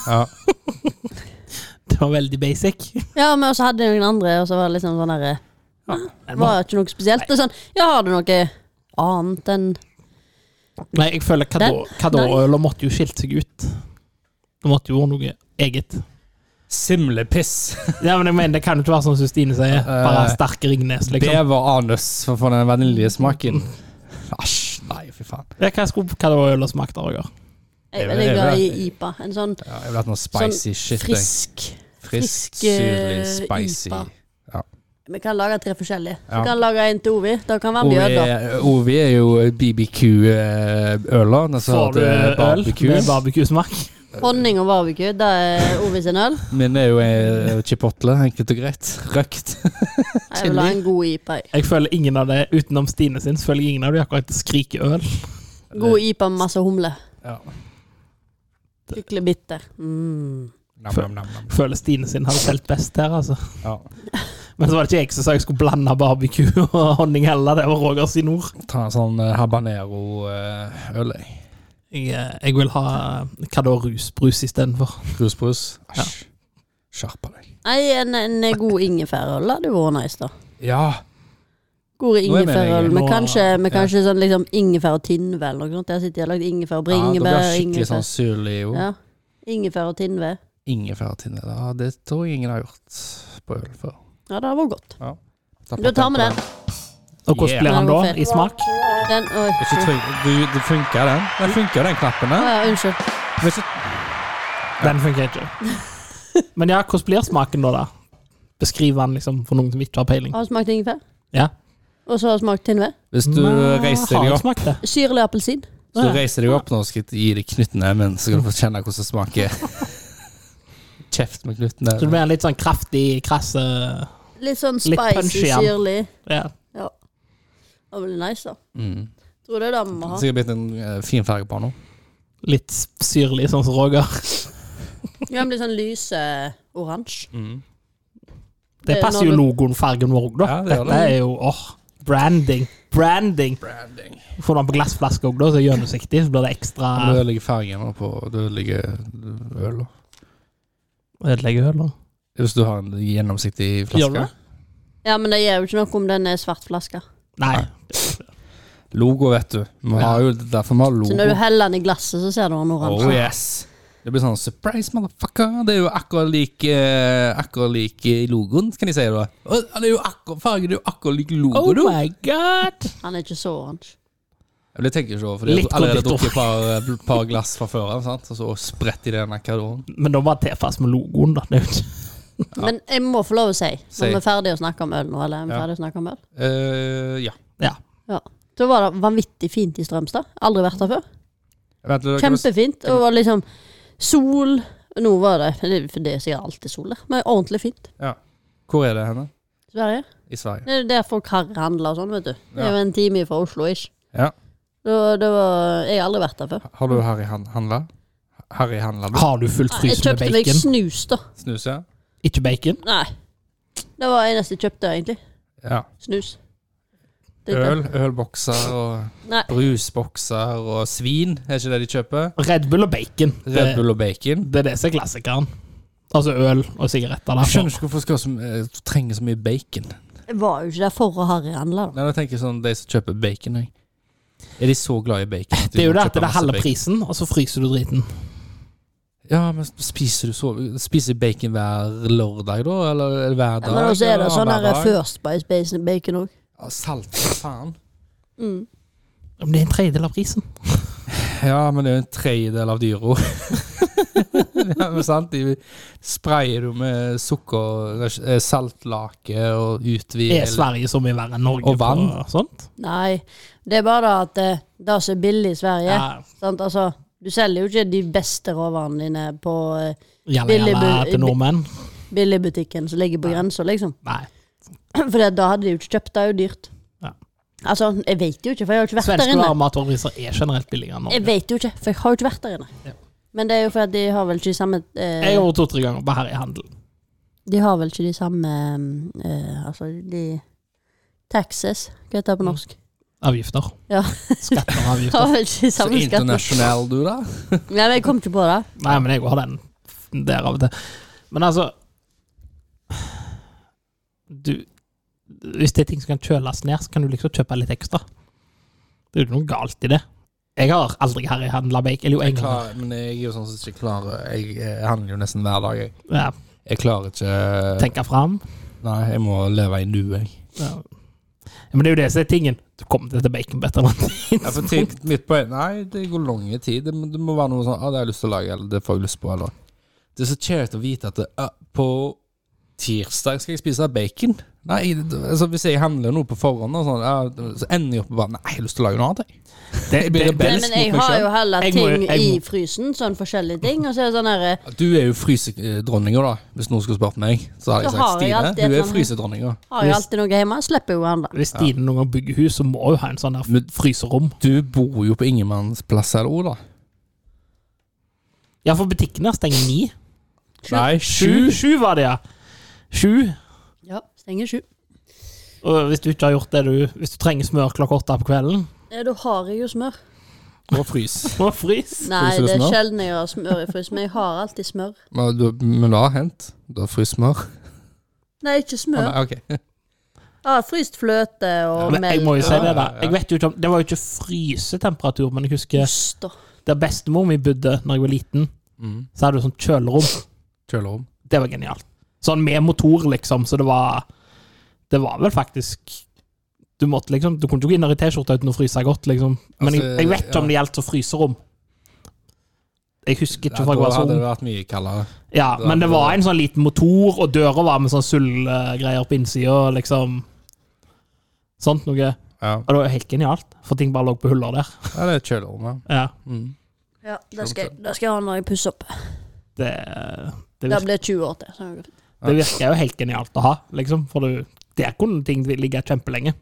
Speaker 2: ja.
Speaker 3: Det var veldig basic.
Speaker 1: Ja, men også hadde de noen andre, og så var det liksom sånn derre Det var ikke noe spesielt. Det er sånn, ja, har du noe annet enn
Speaker 3: Nei, jeg føler Kadå- Kadå-øla måtte jo skilt seg ut. Det måtte jo være noe eget.
Speaker 2: Simlepiss.
Speaker 3: Ja, men jeg mener, Det kan jo ikke være sånn som Stine sier. Bare
Speaker 2: Eh,
Speaker 3: sterke Ringnes, liksom.
Speaker 2: Bever anus for å få den vaniljesmaken. Æsj. Nei, fy faen.
Speaker 3: Ja, Hva skulle Kadå-øla smakt, Roger?
Speaker 1: Jeg er
Speaker 2: Det er vel-
Speaker 1: veldig
Speaker 2: det er
Speaker 1: glad i
Speaker 2: vel-
Speaker 1: IPA. En sånn
Speaker 2: Ja, jeg ville hatt noe spicy shit. jeg.
Speaker 1: frisk
Speaker 2: Frisk,
Speaker 1: frisk, eh,
Speaker 2: syrlig, spicy.
Speaker 1: IPA.
Speaker 2: Ja.
Speaker 1: Vi kan lage tre forskjellige. Vi
Speaker 2: Ja.
Speaker 1: kan lage en til Ovi. Det kan være
Speaker 2: Ovi
Speaker 1: mjød, da.
Speaker 2: er- Ovi er jo eh, BBQ-øler. Den som
Speaker 3: Får du
Speaker 2: heter
Speaker 3: øl med
Speaker 2: barbecue.
Speaker 3: barbecue-smak?
Speaker 1: Honning og barbecue, det er Ovi sin øl.
Speaker 2: Min er jo eh, chipotle, enkelt og greit. Røkt.
Speaker 1: Jeg vil ha en god IPA.
Speaker 3: Jeg føler ingen av det, utenom Stine sin, så føler jeg ingen av de akkurat skriker øl.
Speaker 1: God IPA med masse humle.
Speaker 2: Ja.
Speaker 1: Skikkelig bitter. Mm.
Speaker 2: Nam, nam, nam, nam.
Speaker 3: Føler Stine sin hadde telt best her, altså.
Speaker 2: Ja.
Speaker 3: Men så var det ikke jeg som sa jeg skulle blande barbecue og honning heller. Det var Roger sin ord.
Speaker 2: Ta en sånn eh, habanero-øl. jeg.
Speaker 3: Jeg, eh, jeg vil ha eh, hva da, rusbrus istedenfor.
Speaker 2: Rusbrus. Æsj. Skjerpa deg.
Speaker 1: Nei, en, en god ingefærøl det hadde vært nice, da.
Speaker 2: Ja.
Speaker 1: God
Speaker 2: Nå er jeg med
Speaker 1: ingefærøl
Speaker 2: deg.
Speaker 1: med
Speaker 3: Nå-
Speaker 1: kanskje, med kanskje sånn liksom ingefær og tinnve eller noe sånt. Der sitter jeg og har lagd ingefær og
Speaker 2: ja det blir
Speaker 1: bringebær.
Speaker 2: skikkelig
Speaker 1: ingefær.
Speaker 2: sånn syrlig. jo.
Speaker 1: Ja. Ingefær og tinnve.
Speaker 2: Ingefærtinne. Ja, det tror jeg ingen har gjort på øl før.
Speaker 1: Ja, det hadde vært godt. Da tar vi den.
Speaker 3: Og hvordan
Speaker 2: Yeah.
Speaker 3: blir han da?
Speaker 1: Nei, det var feil.
Speaker 3: I smak?
Speaker 1: Den, oi.
Speaker 2: Ikke trygg. Du, det funker, den. Den funker, den knappen
Speaker 1: Å
Speaker 2: der.
Speaker 1: ja, unnskyld.
Speaker 3: Hvis du- Den funker ikke. Men ja, hvordan blir smaken da? da? Beskriv den liksom for noen som ikke har peiling.
Speaker 1: Har du smakt ingefær?
Speaker 3: Ja.
Speaker 1: Og så har du smakt tynnvær?
Speaker 2: Hvis du
Speaker 3: Men,
Speaker 2: reiser
Speaker 3: har
Speaker 2: deg
Speaker 3: du
Speaker 2: opp
Speaker 3: smakt det?
Speaker 1: Syrlig apelsin?
Speaker 2: Hvis du reiser deg opp nå, skal jeg gi deg knyttneven, så skal du få kjenne hvordan det smaker. Kjeft med
Speaker 3: Så det
Speaker 2: knyttneven.
Speaker 3: blir en litt sånn kraftig, krass eh,
Speaker 1: Litt sånn
Speaker 3: Litt
Speaker 1: spicy,
Speaker 3: punchy, ja.
Speaker 1: syrlig.
Speaker 3: ja.
Speaker 1: Ja. Det var veldig nice, da.
Speaker 2: Mm.
Speaker 1: Tror det er det vi må ha.
Speaker 2: Sikkert blitt en eh, fin farge på den nå.
Speaker 3: Litt syrlig, sånn som Roger.
Speaker 1: Ja, men litt sånn lyse oransje.
Speaker 3: Det
Speaker 1: Eh, når
Speaker 3: passer jo
Speaker 1: du-
Speaker 3: logoen, fargen vår òg, da.
Speaker 2: Ja, det gjør
Speaker 3: Dette
Speaker 2: det.
Speaker 3: er jo åh, branding. Branding. Får du den på glassflaske òg, da, så er det gjennomsiktig, så blir det ekstra
Speaker 2: Du ødelegger fargen nå på Du ødelegger øl. da.
Speaker 3: Ødelegger øl, da.
Speaker 2: Hvis du har en gjennomsiktig
Speaker 3: Gjør du
Speaker 2: flaske.
Speaker 3: det?
Speaker 1: Ja, men det gjør jo ikke noe om den er svart flaske.
Speaker 3: Nei.
Speaker 2: Logo, vet du. Vi har jo det er derfor vi har
Speaker 1: Så
Speaker 2: logo.
Speaker 1: når du heller den i glasset, så ser du den oransje.
Speaker 2: Oh yes. Det blir sånn surprise, motherfucker. Det er jo akkurat lik eh, Akkurat lik i logoen, kan de si da. Å, Det er jo akkurat fargen, det er jo akkurat lik logo,
Speaker 3: Oh
Speaker 2: du.
Speaker 3: my god!
Speaker 1: Han er ikke så oransje.
Speaker 2: Jeg blir tenker ikke over, for jeg
Speaker 3: Litt
Speaker 2: har allerede
Speaker 3: konditor.
Speaker 2: drukket et par, eh, par glass fra før av, sant? og så spredt i denne kardoren.
Speaker 3: Men da bare tilpass med logoen, da. Det er jo ikke
Speaker 1: Men jeg må få lov å si,
Speaker 2: Si.
Speaker 1: når vi er ferdige å snakke om øl nå, eller er vi
Speaker 2: Ja.
Speaker 1: ferdige å snakke om øl?
Speaker 2: Eh, ja.
Speaker 3: Ja.
Speaker 1: Ja. Da var det vanvittig fint i Strømstad. Aldri vært der før.
Speaker 2: Vent, litt, kan du-
Speaker 1: Kjempefint. Og var liksom sol Nå var det For det er sikkert alltid sol der, men ordentlig fint.
Speaker 2: ja. Hvor er det henne?
Speaker 1: Sverige.
Speaker 2: I Sverige.
Speaker 1: Det er jo der folk har handla og sånn, vet du. Det er jo en time fra Oslo, ish.
Speaker 2: Ja.
Speaker 1: Det var, det var, jeg har aldri vært der før.
Speaker 2: Har du Harry han handla? Harry handla du?
Speaker 3: Har du fullt
Speaker 1: Jeg
Speaker 3: frys med
Speaker 1: kjøpte meg
Speaker 3: bacon?
Speaker 1: snus, da.
Speaker 2: Snus, ja?
Speaker 3: Ikke bacon?
Speaker 1: Nei. Det var det eneste jeg kjøpte, egentlig.
Speaker 2: ja.
Speaker 1: Snus. Det er
Speaker 2: Øl, ølbokser og
Speaker 1: ikke- Nei.
Speaker 2: brusbokser og svin, er ikke det de kjøper?
Speaker 3: Red Bull og bacon.
Speaker 2: Red
Speaker 3: Det,
Speaker 2: Bull og bacon.
Speaker 3: det er det som er klassikeren. Altså øl og sigaretter.
Speaker 2: Jeg
Speaker 3: Derfor.
Speaker 2: skjønner ikke hvorfor skal så, eh, trenger så mye bacon.
Speaker 1: Jeg var jo ikke der for å harryhandle, da.
Speaker 2: Nei, jeg tenker sånn, De som kjøper bacon, jeg. er de så glad i bacon? at de
Speaker 3: Det er jo det
Speaker 2: kjøper
Speaker 3: at det er
Speaker 2: masse
Speaker 3: halve
Speaker 2: bacon?
Speaker 3: prisen, og så fryser du driten.
Speaker 2: Ja, men spiser du så Spiser bacon hver lørdag, da? Eller hver dag?
Speaker 1: Men også er det
Speaker 2: Ja,
Speaker 1: sånn
Speaker 2: hver
Speaker 1: der
Speaker 2: dag.
Speaker 1: First by Space and Bacon òg.
Speaker 2: Ja, Salt, for faen.
Speaker 1: Mm.
Speaker 3: Men det er en tredjedel av prisen.
Speaker 2: Ja, men det er jo en tredjedel av dyra. ja, men sant? De sprayer du med sukker, eh, saltlake og
Speaker 3: Er
Speaker 2: utvider
Speaker 3: Sverige så mye verre enn Norge?
Speaker 2: Og vann.
Speaker 3: på sånt?
Speaker 1: Nei. Det er bare det at eh, det som er billig i Sverige
Speaker 3: Ja.
Speaker 1: sant? Altså, Du selger jo ikke de beste råvarene dine på eh,
Speaker 3: Jalla,
Speaker 1: Billig
Speaker 3: jalla
Speaker 1: bu-
Speaker 3: til nordmenn?
Speaker 1: billigbutikken som ligger på grensa, liksom.
Speaker 3: Nei.
Speaker 1: For da hadde de jo ikke kjøpt, det er jo dyrt.
Speaker 3: Ja.
Speaker 1: Altså, jeg vet jo ikke, for jeg har jo ikke vært der
Speaker 3: Svenske
Speaker 1: inne.
Speaker 3: varer og matvarepriser er generelt billigere enn
Speaker 1: Jeg
Speaker 3: Norge.
Speaker 1: vet jo ikke, for jeg har jo ikke vært der inne.
Speaker 3: Ja.
Speaker 1: Men det er jo fordi de har vel ikke de samme
Speaker 3: Jeg
Speaker 1: eh,
Speaker 3: gjorde to-tre ganger på herrehandel.
Speaker 1: De har vel ikke de samme eh, Altså, de Taxes, hva heter det
Speaker 3: Mm.
Speaker 1: på norsk?
Speaker 3: Avgifter.
Speaker 1: Ja.
Speaker 3: Skatter og avgifter.
Speaker 1: Har vel ikke de
Speaker 2: Så
Speaker 1: samme skattene.
Speaker 2: internasjonal du, da?
Speaker 1: Nei, men jeg kom ikke på det.
Speaker 3: Nei, men jeg har den der av og til. Men altså Du Hvis det er ting som kan kjøles ned, så kan du liksom kjøpe litt ekstra. Det er jo ikke noe galt i det. Jeg har aldri herrehandla bacon. Eller jo,
Speaker 2: Jeg
Speaker 3: en gang.
Speaker 2: klar, men jeg er jo sånn som ikke klarer Jeg, jeg handler jo nesten hver dag, jeg.
Speaker 3: Ja,
Speaker 2: Jeg klarer ikke
Speaker 3: Tenke fram.
Speaker 2: Nei, jeg må leve i nuet, jeg.
Speaker 3: Ja. Men det er jo det som er tingen. Du kommer til dette bacon bedre enn
Speaker 2: Ja, for ting, mitt poeng Nei, det går lange tid. Det, må- det må være noe sånn ah, 'Det har jeg lyst til å lage', eller 'det får jeg lyst på', eller Det er så kjekt å vite at det, ah, på tirsdag skal jeg spise bacon. Nei, det, altså Hvis jeg handler noe på forhånd, og sånn, ah, så ender jeg opp med bare Nei, jeg har lyst til å lage noe annet, jeg.
Speaker 3: det,
Speaker 2: Jeg blir
Speaker 1: Nei,
Speaker 3: det,
Speaker 2: rebell.
Speaker 3: det,
Speaker 1: men
Speaker 2: Elsk
Speaker 1: jeg
Speaker 2: mot meg
Speaker 1: har
Speaker 2: selv.
Speaker 1: jo heller
Speaker 3: Jeg
Speaker 1: ting
Speaker 3: må jo- jeg
Speaker 1: i
Speaker 3: må-
Speaker 1: frysen, sånn forskjellige ting. Og så er det sånn her eh,
Speaker 2: Du er jo frysedronninga, da, hvis noen skulle spurt meg. Så hadde jeg
Speaker 1: Så
Speaker 2: sagt
Speaker 1: har jeg
Speaker 2: Stine,
Speaker 1: alltid et
Speaker 2: du
Speaker 1: eller
Speaker 2: er
Speaker 1: annet.
Speaker 2: frysedronninga.
Speaker 1: Har jo alltid noe hjemme, slipper jo å handle.
Speaker 3: hvis Stine noen gang bygger hus, så må hun ha en sånn der
Speaker 2: Men-
Speaker 3: fryserom.
Speaker 2: Du bor jo på ingenmannsplass eller noe, da.
Speaker 3: Ja, for butikken her stenger ni.
Speaker 1: Sju.
Speaker 2: Nei,
Speaker 3: Sju,
Speaker 2: sju.
Speaker 3: sju var det, ja. Sju.
Speaker 1: Ja, stenger sju.
Speaker 3: Og hvis du ikke har gjort det du Hvis du trenger smør klokka åtte på kvelden,
Speaker 1: Ja, da har jeg jo smør.
Speaker 2: Og frys.
Speaker 3: må frys.
Speaker 1: Nei,
Speaker 2: Fryser du
Speaker 1: det er
Speaker 2: smør?
Speaker 1: sjelden jeg har smør i frys, men jeg har alltid smør.
Speaker 2: Men, du, men det har hendt? Du har fryst smør?
Speaker 1: Nei, ikke
Speaker 2: Å,
Speaker 1: smør.
Speaker 2: nei, ok.
Speaker 1: Jeg har fryst fløte og
Speaker 3: Men jeg må jo
Speaker 1: melk.
Speaker 3: si
Speaker 1: og
Speaker 3: det, da.
Speaker 2: Ja, ja.
Speaker 3: Jeg vet jo ikke om, det var jo ikke frysetemperatur, men jeg husker
Speaker 1: Ost og
Speaker 3: der bestemor mi bodde når jeg var liten,
Speaker 2: Mm.
Speaker 3: så hadde hun sånn kjølerom.
Speaker 2: Kjølerom.
Speaker 3: Det var genialt. Sånn med motor, liksom, så det var Det var vel faktisk Du måtte liksom Du kunne ikke gå inn her i T-skjorta uten å fryse godt, liksom. Men jeg,
Speaker 2: Altså,
Speaker 3: jeg vet ikke om
Speaker 2: ja.
Speaker 3: det gjaldt som fryserom. Jeg husker ikke
Speaker 2: Ja,
Speaker 3: for jeg
Speaker 2: da
Speaker 3: var så
Speaker 2: hadde det
Speaker 3: ung.
Speaker 2: vært mye kaldere.
Speaker 3: Ja,
Speaker 2: det
Speaker 3: men det
Speaker 2: hadde
Speaker 3: var
Speaker 2: det.
Speaker 3: en sånn liten motor, og døra var med sånn sølvgreier på innsida, og liksom Sånt noe. Og
Speaker 2: Ja,
Speaker 3: det var jo helt genialt, for ting bare lå på huller der.
Speaker 2: ja det er kjøleormer.
Speaker 3: Ja,
Speaker 2: Mm.
Speaker 1: Ja, det skal, jeg- det skal jeg ha når jeg pusser opp.
Speaker 3: det, det,
Speaker 1: Det
Speaker 3: virker,
Speaker 1: blir 20 år til. så det går fint.
Speaker 3: det virker jo helt genialt å ha, liksom. For du, der kunne ting ligge kjempelenge.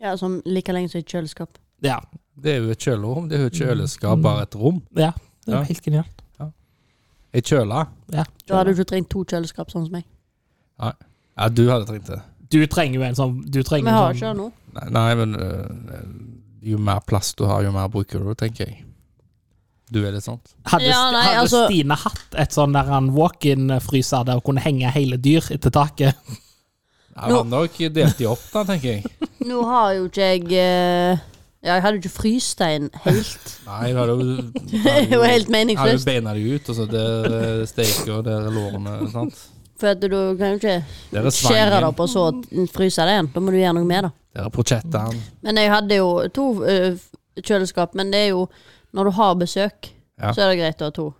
Speaker 1: Ja, som like lenge som et kjøleskap.
Speaker 3: Ja,
Speaker 2: Det er jo et kjølerom. Det er jo
Speaker 1: Mm.
Speaker 2: et kjøleskap, bare et rom.
Speaker 3: ja det
Speaker 2: Ja.
Speaker 3: er jo helt genialt.
Speaker 2: Ei kjøle.
Speaker 3: Ja.
Speaker 1: Da hadde du ikke trengt to kjøleskap, sånn som meg.
Speaker 2: Ja, du hadde trengt det.
Speaker 3: Du trenger jo en sånn Du
Speaker 1: Vi
Speaker 3: trenger
Speaker 1: har
Speaker 3: en
Speaker 1: ikke det
Speaker 3: sånn,
Speaker 1: nå.
Speaker 2: Nei, nei men øh, jo mer plass du har, jo mer bruker du, tenker jeg. Du er litt sånn. sant?
Speaker 3: Hadde,
Speaker 1: Ja, nei,
Speaker 3: hadde
Speaker 1: altså-
Speaker 3: Stine hatt et sånn der han walk-in-fryser der hun kunne henge hele dyr etter taket?
Speaker 2: Ja,
Speaker 1: Nå-
Speaker 2: Han har nok delt de opp, da, tenker jeg.
Speaker 1: Nå har jo ikke jeg eh, Ja, jeg hadde jo ikke frystein helt.
Speaker 2: Nei, du hadde jo
Speaker 1: Det er jo helt
Speaker 2: Hadde jo
Speaker 1: meningsløst.
Speaker 2: beina de ut, og så der er steker, og der er lårene, sant?
Speaker 1: For at du kan jo ikke
Speaker 2: Der er
Speaker 1: skjære det
Speaker 2: svangen,
Speaker 1: opp og så fryse det igjen. Da må du gjøre noe med det.
Speaker 2: der er prosjettaen.
Speaker 1: Men jeg hadde jo to eh, kjøleskap, men det er jo når du har besøk,
Speaker 2: Ja.
Speaker 1: så er det greit å ha to.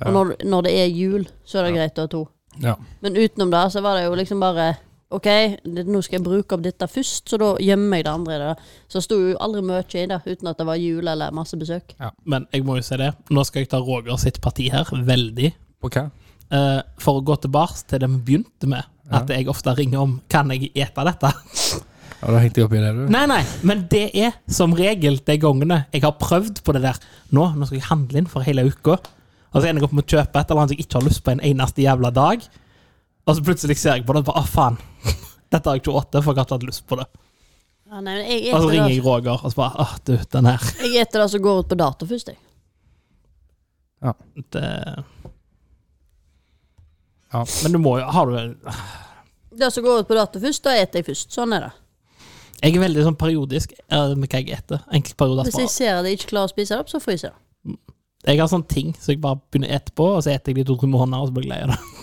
Speaker 2: Ja.
Speaker 1: Og når, når det er jul, så er det greit å ha to.
Speaker 2: Ja.
Speaker 1: Men utenom det, så var det jo liksom bare OK, det, nå skal jeg bruke opp dette først, så da gjemmer jeg det andre i det. da. Så sto jo aldri mye i det uten at det var jul eller masse besøk.
Speaker 3: Men jeg må jo si det. Nå skal jeg ta Roger sitt parti her, veldig.
Speaker 2: På hva?
Speaker 3: Eh, for å gå tilbake til det vi begynte med, at jeg ofte ringer om Kan jeg ete dette?
Speaker 2: Ja, da hengte jeg opp i det, du.
Speaker 3: Nei, nei, men det er som regel de gangene jeg har prøvd på det der. Nå, nå skal jeg handle inn for hele uka, og så ender jeg opp med å kjøpe et eller annet som jeg ikke har lyst på en eneste jævla dag. Og så plutselig ser jeg på det og bare Å, faen. Dette har jeg ikke åtte, for jeg har ikke hatt lyst på det.
Speaker 1: Ja, nei, men jeg
Speaker 3: Og så
Speaker 1: eter
Speaker 3: ringer
Speaker 1: det-
Speaker 3: jeg Roger og så bare Åh, du, den her.
Speaker 1: jeg eter det som går ut på dato først, jeg.
Speaker 3: Det...
Speaker 2: Ja.
Speaker 3: Men du må jo Har du en
Speaker 1: Det som går ut på dato først, da eter jeg først. Sånn er det.
Speaker 3: Jeg er veldig sånn periodisk eh, med hva jeg etter. Enkeltperioder.
Speaker 1: Hvis jeg ser at jeg ikke klarer å spise det opp, så fryser jeg det.
Speaker 3: Jeg har sånne ting som jeg bare begynner å ete på, og så eter jeg de to-tre måneder, og så blir jeg lei av det.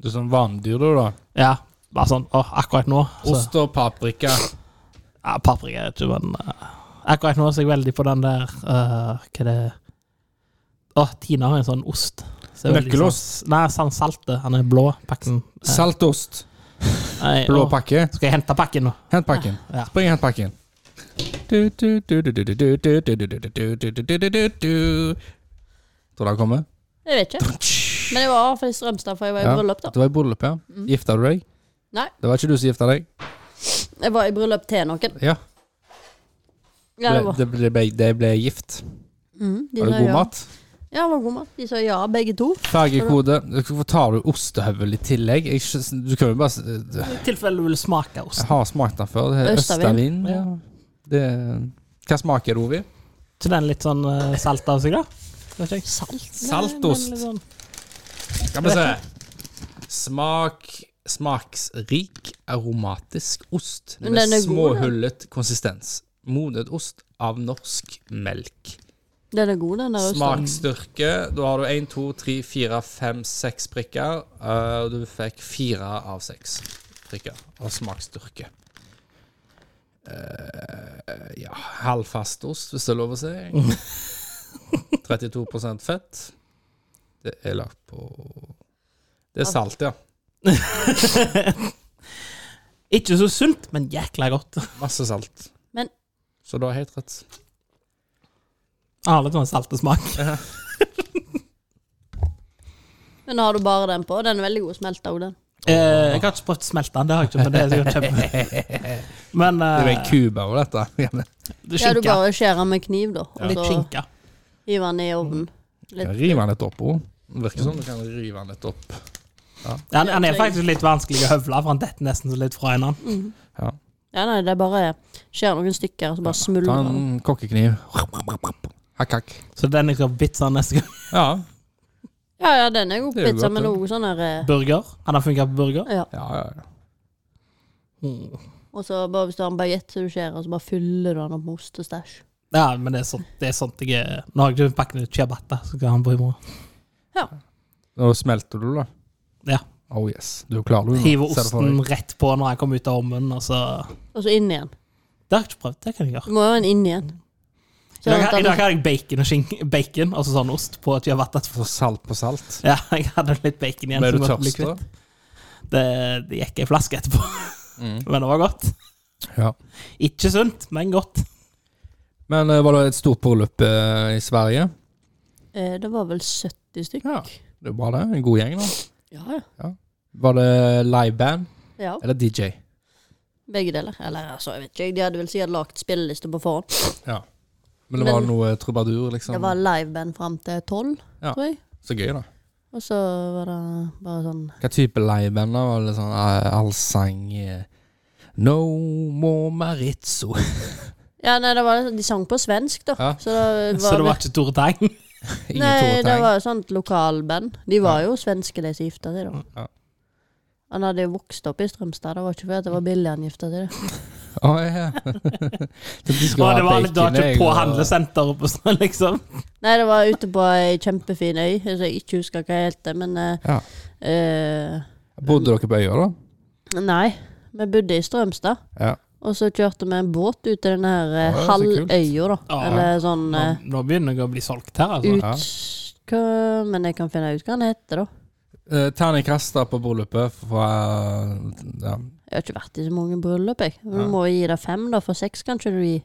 Speaker 2: Du er sånn vanedyr, du, da.
Speaker 3: Ja, bare sånn, åh, akkurat nå så,
Speaker 2: Ost og paprika.
Speaker 3: ja, Paprika er ikke, men eh, Akkurat nå så er jeg veldig på den der eh, Hva er det Åh, Tina har en sånn ost. Så er veldig
Speaker 2: Nøkkelost?
Speaker 3: Sånn, nei, sånn salte. Han er blå, pakken. Eh,
Speaker 2: Saltost.
Speaker 3: nei,
Speaker 2: Blå
Speaker 3: åh,
Speaker 2: pakke.
Speaker 3: Skal jeg hente pakken nå?
Speaker 2: Hent pakken.
Speaker 3: Ja.
Speaker 2: Spring og hent pakken. Tror du han kommer?
Speaker 1: Jeg vet ikke. Men jeg var i hvert fall i Strømstad, for jeg var i Mm.
Speaker 2: Ja.
Speaker 1: bryllup da.
Speaker 2: Du var i bryllup, ja. Gifta du deg?
Speaker 1: Nei.
Speaker 2: Det var ikke du som gifta deg?
Speaker 1: Jeg var i bryllup til noen.
Speaker 2: Ja.
Speaker 1: Ja, det var.
Speaker 2: det, ble, det, ble, det ble gift.
Speaker 1: Mhm, de
Speaker 2: Var
Speaker 1: sa
Speaker 2: det god
Speaker 1: ja.
Speaker 2: mat?
Speaker 1: Ja, det var god mat. De sa ja, begge to.
Speaker 2: Fargekode. Hvorfor tar du ostehøvel i tillegg? Jeg, skjø- du kan jo bare s-
Speaker 3: I tilfelle du vil smake ost.
Speaker 2: Jeg har smakt den før. Det er
Speaker 1: Østavin.
Speaker 2: Østavin. Ja. Det, hva smaker det, Ovi?
Speaker 3: Så den er litt sånn eh, salt av seg, da? Vet ikke jeg.
Speaker 1: Salt.
Speaker 2: Saltost.
Speaker 3: Nei, men litt sånn-
Speaker 2: Skal vi se. Smak Smaksrik, aromatisk ost
Speaker 1: Men den
Speaker 2: med
Speaker 1: er god, den.
Speaker 2: småhullet konsistens. Modnet ost av norsk melk.
Speaker 1: Den er god, den der. Smak.
Speaker 2: Smaksstyrke. Da har du én, to, tre, fire, fem, seks prikker. eh, Og du fikk fire av seks prikker av smaksstyrke. Eh, ja, halvfast ost, hvis det er lov å si. 32 fett. Det er lagt på Det er salt, ja.
Speaker 3: Ikke så sunt, men jækla godt.
Speaker 2: Masse salt.
Speaker 1: Men-
Speaker 2: Så du har helt rett.
Speaker 3: Jeg har litt sånn saltesmak.
Speaker 1: Men nå har du bare den på. og Den er veldig god smelta òg, den.
Speaker 3: Eh, jeg har ikke prøvd smelta den, det har jeg ikke, men det er sikkert kjempe... Men
Speaker 2: Det er
Speaker 3: eh,
Speaker 2: en kuba over dette.
Speaker 3: det er
Speaker 1: Ja, du
Speaker 3: skinka.
Speaker 1: bare skjærer med kniv, da. Og
Speaker 3: Litt
Speaker 1: så
Speaker 3: skinka.
Speaker 1: hiver den i ovnen.
Speaker 2: Mm. Kan rive den litt opp Mm. òg. Virker som du kan rive den litt opp.
Speaker 3: Ja, han er faktisk litt vanskelig å høvle, for han detter nesten så litt fra en
Speaker 1: Mm.
Speaker 3: annen.
Speaker 2: Ja.
Speaker 1: Ja, nei, det er bare skjærer noen stykker, og så bare
Speaker 2: Ta
Speaker 1: smuldrer den.
Speaker 2: en kokkekniv. Hakk, hakk.
Speaker 3: Så den jeg skal bitse han neste gang.
Speaker 2: Ja.
Speaker 1: Ja, ja, den er god på
Speaker 2: Det er jo
Speaker 1: pizza,
Speaker 2: godt,
Speaker 1: men
Speaker 2: det.
Speaker 1: òg sånn her eh,
Speaker 3: Burger. Han har funka på burger.
Speaker 1: Ja.
Speaker 2: ja, ja, ja.
Speaker 3: Mm.
Speaker 1: Og så bare hvis du har en baguette som du skjærer, og så bare fyller du den opp med ostestæsj.
Speaker 3: Ja, men det er sånt, det er sånt jeg er Nå har jeg ikke pakket ut ciabatta, så skal han på i morgen.
Speaker 2: Nå smelter du, da.
Speaker 3: Ja.
Speaker 2: Oh yes. Du er klar, du. nå.
Speaker 3: Hiver
Speaker 2: Ser du for deg.
Speaker 3: osten rett på når jeg kommer ut av ovnen, og så
Speaker 1: Og så inn igjen.
Speaker 3: Det har jeg ikke prøvd, det kan jeg gjøre.
Speaker 1: Du må jo ha en inn igjen.
Speaker 3: I
Speaker 1: Så
Speaker 3: dag, I
Speaker 1: at
Speaker 3: dag
Speaker 1: den-
Speaker 3: har jeg bacon, og skinke, bacon altså sånn ost, på at vi har vært etter
Speaker 2: Så salt på salt.
Speaker 3: Ja, jeg hadde litt bacon igjen.
Speaker 2: Ble
Speaker 3: som
Speaker 2: du
Speaker 3: jeg måtte bli
Speaker 2: tørst da?
Speaker 3: kvitt. Det, det gikk ei flaske etterpå.
Speaker 2: Mm.
Speaker 3: Men det var godt.
Speaker 2: Ja.
Speaker 3: Ikke sunt, men godt.
Speaker 2: Men eh, var det et stort bryllup eh, i Sverige?
Speaker 1: eh, Det var vel 70 stykk.
Speaker 2: Ja. Det var det. En god gjeng, da.
Speaker 1: Ja,
Speaker 2: Var det liveband
Speaker 1: ja.
Speaker 2: eller DJ?
Speaker 1: Begge deler. Eller altså, jeg vet ikke. De hadde vel sikkert lagd spilleliste på forhånd.
Speaker 2: Ja. Men det var
Speaker 1: Men-
Speaker 2: noe trubadur, liksom?
Speaker 1: Det var liveband fram til tolv,
Speaker 2: Ja.
Speaker 1: tror jeg.
Speaker 2: Så gøy, da.
Speaker 1: Og så var det bare sånn
Speaker 2: Hva type liveband? da? Var det sånn eh, allsang eh, No more Maritzo.
Speaker 1: Ja, nei, det var, de sang på svensk, da.
Speaker 2: Ja.
Speaker 1: Så det var,
Speaker 3: Så det var ikke Tore Tang.
Speaker 2: Ingen
Speaker 1: Nei, det
Speaker 2: tåretang.
Speaker 1: var jo sånt lokalband. De var jo svenske, de som gifta seg, da.
Speaker 2: Mm, Ja.
Speaker 1: Han hadde jo vokst opp i Strømstad. Det var ikke fordi at det var billig han gifta seg. da.
Speaker 2: Å, ja. Så de skulle
Speaker 3: Og
Speaker 2: ha
Speaker 3: det var, det var
Speaker 2: bacon, jeg,
Speaker 3: ikke på
Speaker 2: og-
Speaker 3: handlesenteret, på sånn, liksom.
Speaker 1: Nei, det var ute på ei kjempefin øy, som jeg ikke husker hva jeg heter, men eh,
Speaker 2: Ja.
Speaker 1: eh,
Speaker 2: Bodde dere på øya, da?
Speaker 1: Nei. Vi bodde i Strømstad,
Speaker 2: Ja.
Speaker 1: og så kjørte vi en båt ut til den her eh,
Speaker 2: Ja, så kult.
Speaker 1: halvøya, da.
Speaker 3: Ja.
Speaker 1: Eller sånn
Speaker 3: Nå,
Speaker 1: eh,
Speaker 3: nå begynner jeg å bli solgt her, altså.
Speaker 1: ut...
Speaker 2: Ja.
Speaker 1: Hva, men jeg kan finne ut hva den heter, da.
Speaker 2: Uh, Terningkast da på bryllupet fra ja,
Speaker 1: Jeg har ikke vært i så mange bryllup, jeg. Du
Speaker 2: Ja.
Speaker 1: må jo gi deg fem, da. For seks kan ikke du gi.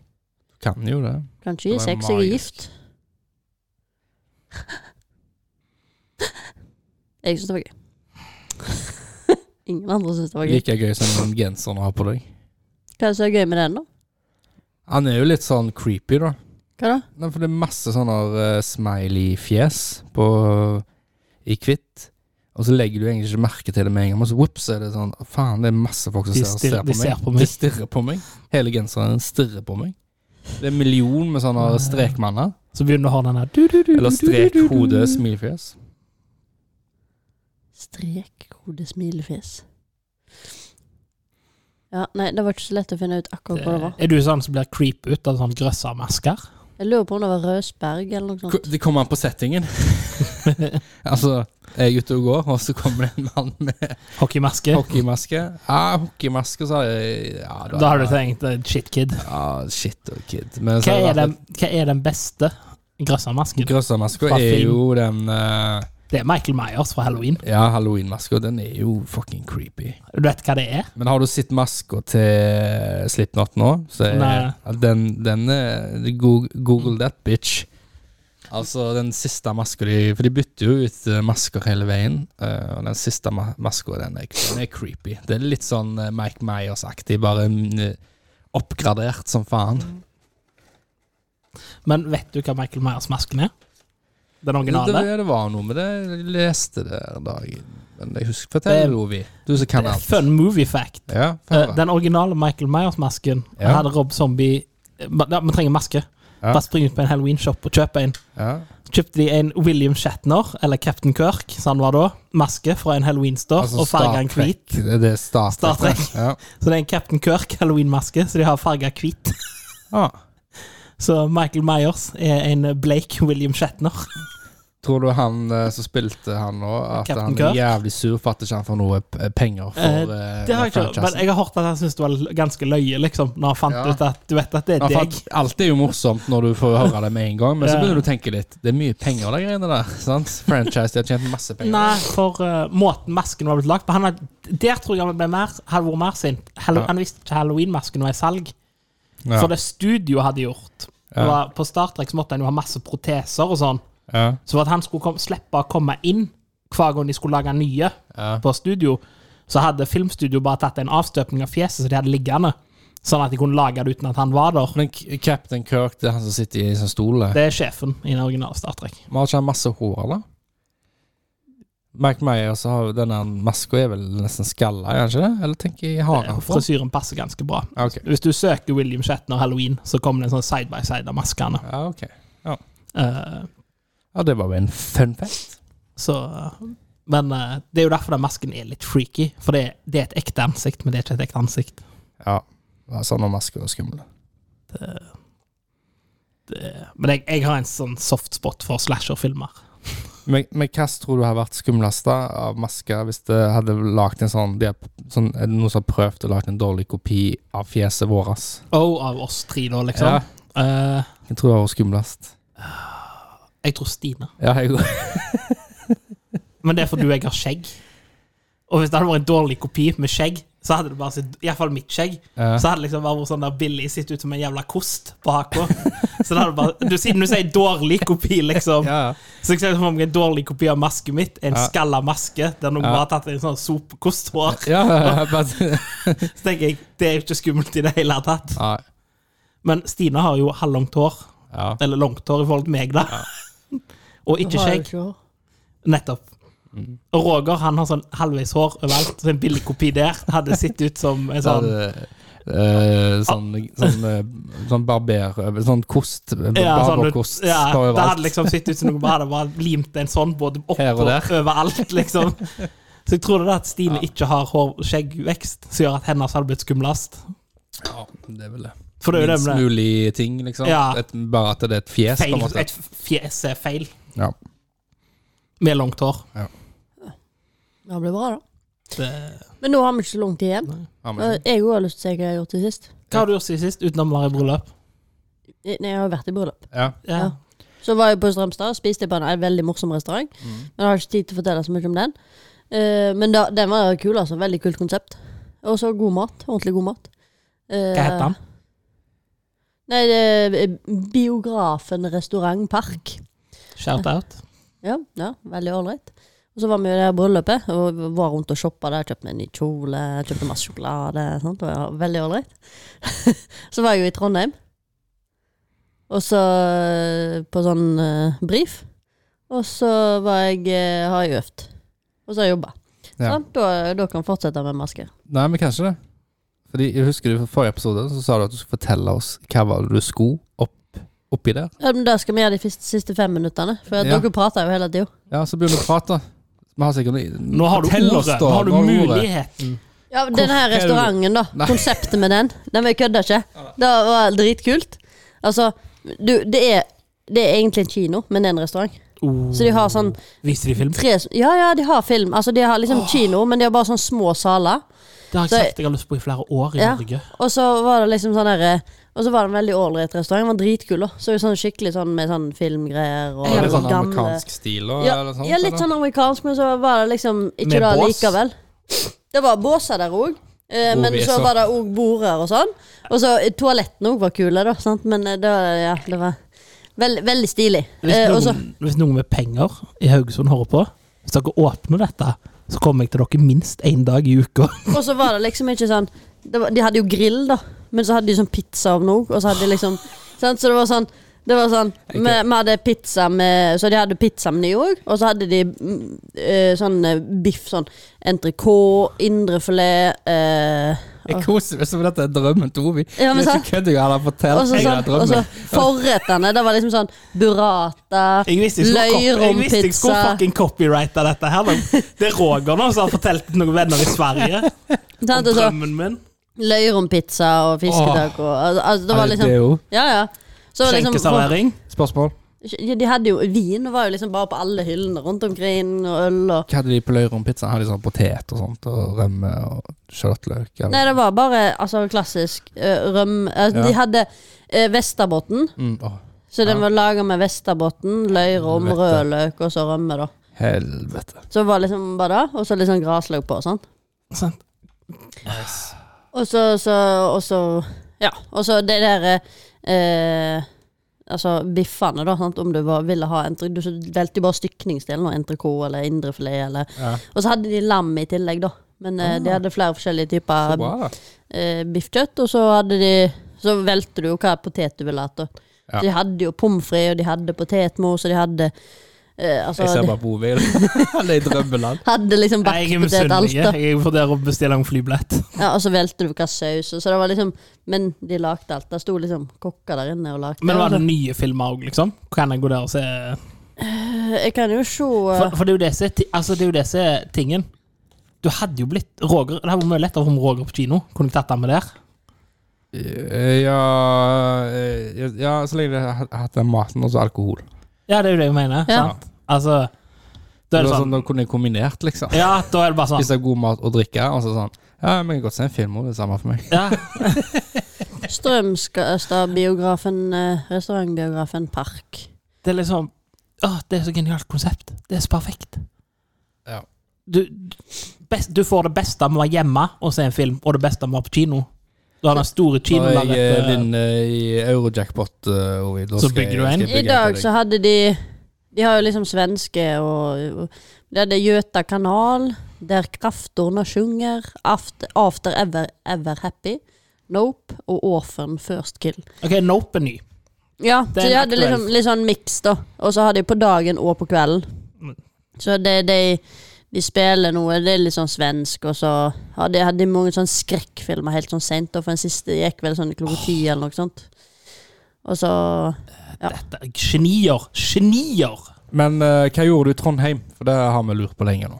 Speaker 2: Kan jo det.
Speaker 1: Kan ikke gi
Speaker 2: Det var
Speaker 1: seks, jeg er
Speaker 2: magisk.
Speaker 1: gift. jeg syns det var gøy. Ingen andre syns det var gøy.
Speaker 2: Like gøy som den genseren du har på deg.
Speaker 1: Hva er det som er gøy med den, da?
Speaker 2: Han er jo litt sånn creepy, da.
Speaker 1: Hva da?
Speaker 2: Nei, for det er masse sånne eh, smiley-fjes på i hvitt. Og så legger du egentlig ikke merke til det med en gang, men så whoops, er det sånn Faen, det er masse folk som
Speaker 3: De
Speaker 2: ser, ser,
Speaker 3: stirrer-
Speaker 2: på
Speaker 3: de
Speaker 2: meg.
Speaker 3: ser på meg.
Speaker 2: De stirrer på meg. Hele genseren stirrer på meg. Det er en million med sånne strekmanner.
Speaker 3: Så begynner å ha den her du, du, du,
Speaker 2: Eller strekhode-smilefjes.
Speaker 1: Strek, kode, smilefjes. Ja, nei, det var ikke så lett å finne ut akkurat hva det var.
Speaker 3: Er du sånn som blir creep ut av sånn grøssermasker?
Speaker 1: Jeg lurer på om det var Røsberg eller noe
Speaker 2: Ko-
Speaker 1: sånt.
Speaker 2: Det kommer an på settingen. altså, jeg er ute og går, og så kommer det en mann med
Speaker 3: Hockeymaske?
Speaker 2: hockeymaske. Ja, hockeymaske, så har jeg ja, da-
Speaker 3: Da har du tenkt eh, shit kid.
Speaker 2: Ja, shit og kid. Men så
Speaker 3: Hva
Speaker 2: har
Speaker 3: er
Speaker 2: Altså, det vært
Speaker 3: den, hva er den beste grøssermasken?
Speaker 2: Grøssermaska
Speaker 3: Fra
Speaker 2: er
Speaker 3: film.
Speaker 2: jo den eh,
Speaker 3: Det er Michael Myers fra Halloween.
Speaker 2: Ja, halloweenmaska, den er jo fucking creepy.
Speaker 3: Du vet hva det er?
Speaker 2: Men har du sett maska til Slipknot nå, så er
Speaker 3: Nei.
Speaker 2: ja, den, den er Google, Google that, bitch. Altså, den siste maska de For de bytter jo ut eh, masker hele veien. eh, Og den siste ma maska, den, er- den er creepy. Det er litt sånn eh, Mike Myers-aktig, bare mm, oppgradert som faen.
Speaker 3: Mm. Men vet du hva Michael Myers-masken er? Den
Speaker 2: Det,
Speaker 3: originale?
Speaker 2: det var noe med det. Jeg leste det en dag. Men jeg husker
Speaker 3: Det-
Speaker 2: Fortell, Lovi. Du som kan alt.
Speaker 3: Fun movie fact.
Speaker 2: altså. Ja, få
Speaker 3: Eh,
Speaker 2: høre.
Speaker 3: Den originale Michael Myers-masken
Speaker 2: Ja.
Speaker 3: hadde Rob Zombie eh, ba- Ja, man trenger maske.
Speaker 2: Ja.
Speaker 3: Bare spring ut på en Halloween-shop og kjøp en.
Speaker 2: ja.
Speaker 3: Kjøpte de en William Shatner, eller Captain Kirk, som han var da, maske fra en Halloween-store,
Speaker 2: Altså,
Speaker 3: og farga den
Speaker 2: Star Trek.
Speaker 3: hvit.
Speaker 2: Det, det er Star Trek.
Speaker 3: Star Trek.
Speaker 2: Ja.
Speaker 3: Så det er en Captain Kirk Halloween-maske, så de har farga hvit.
Speaker 2: Ah.
Speaker 3: Så Michael Myers er en Blake William Shatner.
Speaker 2: Tror du han eh, som spilte han nå, at
Speaker 3: Captain
Speaker 2: han
Speaker 3: Kirk?
Speaker 2: er jævlig sur for at ikke han får noe p- penger for
Speaker 3: Eh,
Speaker 2: eh,
Speaker 3: Det har jeg ikke,
Speaker 2: franchisen?
Speaker 3: men jeg har hørt at han syntes det var ganske løye, liksom, når han fant
Speaker 2: Ja.
Speaker 3: ut at du vet at det
Speaker 2: Ja,
Speaker 3: er
Speaker 2: for
Speaker 3: deg.
Speaker 2: at Alt er jo morsomt når du får høre det med en gang, men så
Speaker 3: Ja.
Speaker 2: begynner du å tenke litt. Det er mye penger, de greiene der. sant? Franchise, de har tjent masse penger.
Speaker 3: Nei, for eh, måten masken var blitt lagd på han hadde, Der tror jeg han ble mer, hadde vært mer sint.
Speaker 2: Ja.
Speaker 3: Hallo- Han visste ikke halloween-masken var i salg.
Speaker 2: Ja.
Speaker 3: For det studio hadde gjort
Speaker 2: Ja.
Speaker 3: var, På Star Trek så måtte han jo ha masse proteser og sånn.
Speaker 2: Ja.
Speaker 3: Så for at han skulle kom, slippe å komme inn hver gang de skulle lage nye
Speaker 2: Ja.
Speaker 3: på studio, så hadde filmstudio bare tatt en avstøpning av fjeset som de hadde liggende, sånn at de kunne lage det uten at han var der.
Speaker 2: Men K- Captain Kirk, det er han som sitter i en sånn stol der.
Speaker 3: Det er sjefen i den originale Star Trek.
Speaker 2: Men har ikke han masse hår, eller? Mike Myers har jo denne maska er vel nesten skalla, er han ikke det? Eller tenker jeg har han fra?
Speaker 3: Frisyren passer ganske bra.
Speaker 2: Ja, ok.
Speaker 3: Hvis du søker William Shatner Halloween, så kommer det en sånn side by side av maskene.
Speaker 2: Ja, ok.
Speaker 3: Eh,
Speaker 2: Ja, det var jo en fun fact.
Speaker 3: så Men eh, det er jo derfor den masken er litt freaky. For det, er- det er et ekte ansikt, men det er ikke et ekte ansikt.
Speaker 2: Ja. ja Sånne masker er skumle.
Speaker 3: Det, men jeg, jeg har en sånn soft spot for slasher-filmer.
Speaker 2: Men, men hva tror du har vært skumlest da, av masker, hvis det hadde lagt en sånn, de har, sånn Er det noen som har prøvd å lage en dårlig kopi av fjeset vårt?
Speaker 3: Oh, av oss tre, da, liksom. Eh,
Speaker 2: Jeg tror det var skumlest.
Speaker 3: jeg tror Stine.
Speaker 2: Ja, jeg går.
Speaker 3: Men det er fordi jeg har skjegg. Og hvis det hadde vært en dårlig kopi med skjegg, så hadde det bare sett Iallfall mitt skjegg.
Speaker 2: Ja.
Speaker 3: Så hadde det liksom bare vært sånn der Billy sitter ut som en jævla kost på haka. Så det hadde bare du, Siden du sier dårlig kopi, liksom,
Speaker 2: Ja,
Speaker 3: så jeg ser for meg en dårlig kopi av masken mitt. En
Speaker 2: Ja.
Speaker 3: skalla maske der noen
Speaker 2: Ja.
Speaker 3: bare har tatt en sånn sopekosthår.
Speaker 2: ja, ja, bare-
Speaker 3: Så tenker jeg, det er jo ikke skummelt i det hele tatt.
Speaker 2: Nei.
Speaker 3: Men Stine har jo halvlangt hår.
Speaker 2: ja.
Speaker 3: Eller langt hår i forhold til meg, da. Og ikke
Speaker 1: Har jeg
Speaker 3: skjegg.
Speaker 1: ikke hår.
Speaker 3: Nettopp.
Speaker 2: Mm.
Speaker 3: Og Roger han har sånn halvveis hår overalt, så en billig kopi der hadde sett ut som en
Speaker 2: Så
Speaker 3: sånn
Speaker 2: hadde det, eh, sånn, sånn, eh, sånn barber Sånn kost.
Speaker 3: sånn,
Speaker 2: Barberkost
Speaker 3: ja,
Speaker 2: på
Speaker 3: det hadde
Speaker 2: overalt.
Speaker 3: liksom sett ut som noen bare hadde bare limt en sånn både opp
Speaker 2: Her og
Speaker 3: og,
Speaker 2: der.
Speaker 3: overalt, liksom. Så jeg tror det er at Stine ikke har hår- skjeggvekst, som gjør at hennes hadde blitt skumlest.
Speaker 2: Ja, det er vel det.
Speaker 3: For det er jo det
Speaker 2: Minst
Speaker 3: med det.
Speaker 2: mulig ting, liksom.
Speaker 3: Ja.
Speaker 2: Et, bare at det er et fjes, på en
Speaker 3: Feil,
Speaker 2: måte.
Speaker 3: et fjes er feil
Speaker 2: Ja.
Speaker 3: med langt hår.
Speaker 1: Ja, Det blir bra, da.
Speaker 3: Det,
Speaker 1: Men nå har vi ikke så lang tid igjen.
Speaker 2: Ja, men-
Speaker 1: Og Jeg òg har lyst til å si hva jeg har gjort til sist.
Speaker 3: hva har du gjort siden sist, utenom å være i bryllup?
Speaker 1: Jeg- Nei, jeg har vært i bryllup.
Speaker 2: ja.
Speaker 3: Ja.
Speaker 1: Ja. Så var jeg på Strømstad og spiste på en en veldig morsom restaurant.
Speaker 3: Mm.
Speaker 1: Men jeg har ikke tid til å fortelle så mye om den. Eh, men da, den var kul, altså. Veldig kult konsept. Og så god mat. Ordentlig god mat. Eh,
Speaker 3: Hva heter han?
Speaker 1: Nei, det er Biografen restaurant Park.
Speaker 3: Shout-out.
Speaker 1: Ja, ja veldig ålreit. Og så var vi jo i det her bryllupet og var rundt og shoppa der. Kjøpte en ny kjole, kjøpte masse sjokolade. Sant? Det var veldig ålreit. så var jeg jo i Trondheim, og så eh, på sånn uh, brief. Og så var jeg, eh, har jeg øvd. Og så har jeg jobba.
Speaker 2: Ja.
Speaker 1: Sant? Da, da kan jeg fortsette med maske.
Speaker 2: Nei, men kanskje det. Fordi jeg Husker du fra forrige episode så sa du at du skulle fortelle oss hva var det du skulle opp, oppi der?
Speaker 1: Ja, men Det skal vi gjøre de fiste- siste fem minuttene, for at
Speaker 2: Ja.
Speaker 1: dere prater jo hele tida.
Speaker 2: Ja, så begynner du å prate. Vi har sikkert
Speaker 3: Nå har du
Speaker 2: Fortell oss
Speaker 3: ordet.
Speaker 2: da,
Speaker 3: Nå har du
Speaker 2: nå har du ordet.
Speaker 3: muligheten.
Speaker 1: Ja, den her
Speaker 2: Hvorfor-
Speaker 1: restauranten, da.
Speaker 2: Nei.
Speaker 1: Konseptet med den. Den var jeg kødda ikke. Det var dritkult. Altså, du, det er det er egentlig en kino, men det er en restaurant.
Speaker 3: Oh.
Speaker 1: Så de har sånn
Speaker 3: Viser de film?
Speaker 1: tre Ja, ja, de har film. Altså, de har liksom kino, men de har bare sånn små saler.
Speaker 3: Det har jeg
Speaker 1: Så-
Speaker 3: sagt jeg har lyst på i flere år i
Speaker 1: Ja.
Speaker 3: Norge.
Speaker 1: Og så var det liksom sånn derre Og så var det en veldig ålreit restaurant. Den var dritkul, da. Så jo sånn skikkelig sånn med sånn filmgreier og
Speaker 2: Var det sånn
Speaker 1: gamle-
Speaker 2: amerikansk stil? Og,
Speaker 1: ja,
Speaker 2: eller sånt,
Speaker 1: ja, litt
Speaker 2: eller?
Speaker 1: sånn amerikansk, men så var det liksom ikke
Speaker 3: Med
Speaker 1: det
Speaker 3: bås?
Speaker 1: likevel. Det var båser der òg, eh,
Speaker 2: Hvor
Speaker 1: men
Speaker 2: vi
Speaker 1: så
Speaker 2: så.
Speaker 1: var det òg border og sånn. Og så eh, toalettene òg var kule, da, sant? men eh, det, var- ja, det var veld, veldig stilig.
Speaker 3: Hvis
Speaker 1: Eh, og så
Speaker 3: noen, hvis noen med penger i Haugesund hører på, hvis dere åpner dette, så kommer jeg til dere minst én dag i uka.
Speaker 1: og så var det liksom ikke sånn det var, De hadde jo grill, da, men så hadde de sånn pizzaovn òg, og så hadde de liksom sant? Så det var sånn det var sånn, vi, vi hadde pizza med Så de hadde pizzameny òg, og så hadde de mm, eh, sånn eh, biff, sånn entrecôte, indrefilet eh,
Speaker 2: Jeg koser meg som dette er drømmen til Ovi.
Speaker 1: Ja, men
Speaker 2: det er
Speaker 1: sant?
Speaker 2: ikke kødd jeg hadde fortalt.
Speaker 1: Og så
Speaker 2: jeg
Speaker 1: sånn,
Speaker 2: den
Speaker 1: og så
Speaker 2: drømmen.
Speaker 1: forrettene, det var liksom sånn burrata,
Speaker 3: Jeg visste jeg skulle, copy- jeg visste jeg skulle
Speaker 1: løyrompizza
Speaker 3: fucking copyrighte dette her. da. Det er Roger nå som har fortalt noen venner i Sverige
Speaker 1: sant?
Speaker 3: om
Speaker 1: Og så
Speaker 3: drømmen min.
Speaker 1: Løyrompizza og fisketaco. Altså, altså, det
Speaker 2: Ja,
Speaker 1: var
Speaker 2: det er
Speaker 1: liksom
Speaker 2: jo
Speaker 1: Ja, ja. Så var det liksom,
Speaker 3: Skjenkeservering.
Speaker 2: Spørsmål?
Speaker 1: ja, de hadde jo Vin var jo liksom bare på alle hyllene rundt omkring, og øl og
Speaker 2: Hva hadde de på Løyrom-pizzaen? Hadde de sånn potet og sånt, og rømme og kjøttløk? eller-
Speaker 1: Nei, det var bare altså, klassisk uh, røm... Altså,
Speaker 2: Ja.
Speaker 1: De hadde uh, Vesterbotn,
Speaker 2: Mm, åh,
Speaker 1: så den
Speaker 2: Ja.
Speaker 1: var laga med Vesterbotn, løyrom,
Speaker 2: Helvete.
Speaker 1: rødløk og så rømme, da.
Speaker 2: helvete.
Speaker 1: Så det var liksom bare det, og så litt sånn grasløk på og sånn.
Speaker 3: Sant?
Speaker 1: Og så, så, og så Ja, og så det der eh, Altså biffene, da, sant? om du var, ville ha entre, Du valgte jo bare stykningsdelen, og entrecôte eller indrefilet eller
Speaker 2: Ja. Ah.
Speaker 1: Og så hadde de lam i tillegg, da. Men eh, de hadde flere forskjellige
Speaker 2: Så
Speaker 1: typer
Speaker 2: bra, da.
Speaker 1: eh, biffkjøtt, og så hadde de Så valgte du jo hva potet du ville ha. da.
Speaker 2: Ja.
Speaker 1: De hadde jo pommes frites, og de hadde potetmos, og de hadde eh, Altså
Speaker 2: Jeg ser
Speaker 1: de
Speaker 2: bare på Ovi. Han er i drømmeland.
Speaker 1: hadde liksom
Speaker 3: Nei, Jeg er
Speaker 1: bakt potet
Speaker 3: misunnelig.
Speaker 1: alt, da.
Speaker 3: Jeg vurderer å bestille en flybillett.
Speaker 1: Ja, og så velte du hva saus, og så det var liksom Men de lagde alt. Det sto liksom kokker der inne og lagde.
Speaker 3: Men var det
Speaker 1: altså.
Speaker 3: nye filmer òg, liksom? Kan jeg gå der og se
Speaker 1: Jeg kan jo se eh,
Speaker 3: For, for det er jo det som er ti- altså, det er jo det som er tingen. Du hadde jo blitt Roger Det hadde vært mye lettere om Roger på kino. Kunne du tatt ham med der?
Speaker 2: Eh, Ja, eh, ja så lenge de har hatt den maten og så alkohol.
Speaker 3: Ja, det er jo det jeg mener.
Speaker 1: Ja.
Speaker 3: Sant? Altså,
Speaker 2: Det
Speaker 3: da er
Speaker 2: var
Speaker 3: det
Speaker 2: sånn,
Speaker 3: sånn
Speaker 2: da kunne jeg kombinert, liksom.
Speaker 3: Ja, da er det bare sånn.
Speaker 2: Spise god mat og drikke, og så sånn Ja, vi kan godt se en film, og det er samme for meg.
Speaker 3: Ja.
Speaker 1: Strømstadbiografen, eh, restaurantbiografen Park.
Speaker 3: Det er liksom Åh, det er så genialt konsept. Det er så perfekt.
Speaker 2: Ja.
Speaker 3: Du, du- best, du får det beste med å være hjemme og se en film, og det beste med å være på kino. Du har den store
Speaker 2: Når jeg eh,
Speaker 3: kinolerretet.
Speaker 2: vinner i Eurojackpot, eh, Ovi, da
Speaker 3: Så
Speaker 2: skal
Speaker 3: bygger du en.
Speaker 2: skal
Speaker 1: I
Speaker 2: bygge
Speaker 1: dag
Speaker 2: til
Speaker 1: så
Speaker 2: deg.
Speaker 1: hadde de De har jo liksom svenske og, og De hadde Göta kanal, Der kraftorna sjunger, After, after ever, ever Happy, Nope og Orphan First Kill.
Speaker 3: Ok, Nope er ny.
Speaker 1: Ja,
Speaker 3: Det
Speaker 1: så de
Speaker 3: er en
Speaker 1: hadde
Speaker 3: aktuell.
Speaker 1: liksom litt sånn miks, da. Og så har de på dagen og på kvelden.
Speaker 3: Mm.
Speaker 1: Så det, de, de spiller noe, det er litt sånn svensk, og så har de, hadde de mange sånn skrekkfilmer helt sånn seint, og for den siste gikk vel sånn klokka ti eller noe sånt. Og så Ja.
Speaker 3: Dette er genier. Genier!
Speaker 2: Men eh, hva gjorde du i Trondheim? For det har vi lurt på lenge nå.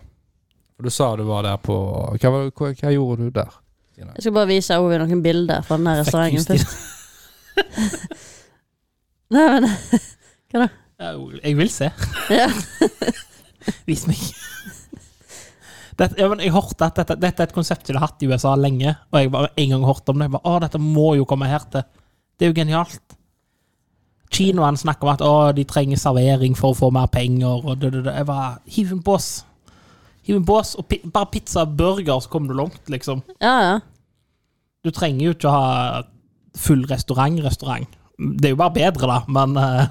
Speaker 2: For du sa du var der på Hva, var- hva, hva gjorde du der?
Speaker 1: Jeg skal bare vise Ovi noen bilder fra den her restauranten
Speaker 3: Fuck you,
Speaker 1: først. Nei, men
Speaker 3: Stina. Jeg vil se.
Speaker 1: ja.
Speaker 3: Vis meg. Dette, ja, men jeg hørte at dette, dette er et konsept de har hatt i USA lenge, og jeg bare en gang hørte om det. Jeg bare, å, dette må jo komme her til. Det er jo genialt. Kinoene snakker om at å, de trenger servering for å få mer penger. Og det, det, det. Jeg bare, Hiv en bås. Hiv en bås, og pi, bare pizza og burger, så kommer du langt, liksom.
Speaker 1: ja, ja.
Speaker 3: Du trenger jo ikke å ha full restaurant-restaurant. Det er jo bare bedre, da, men eh,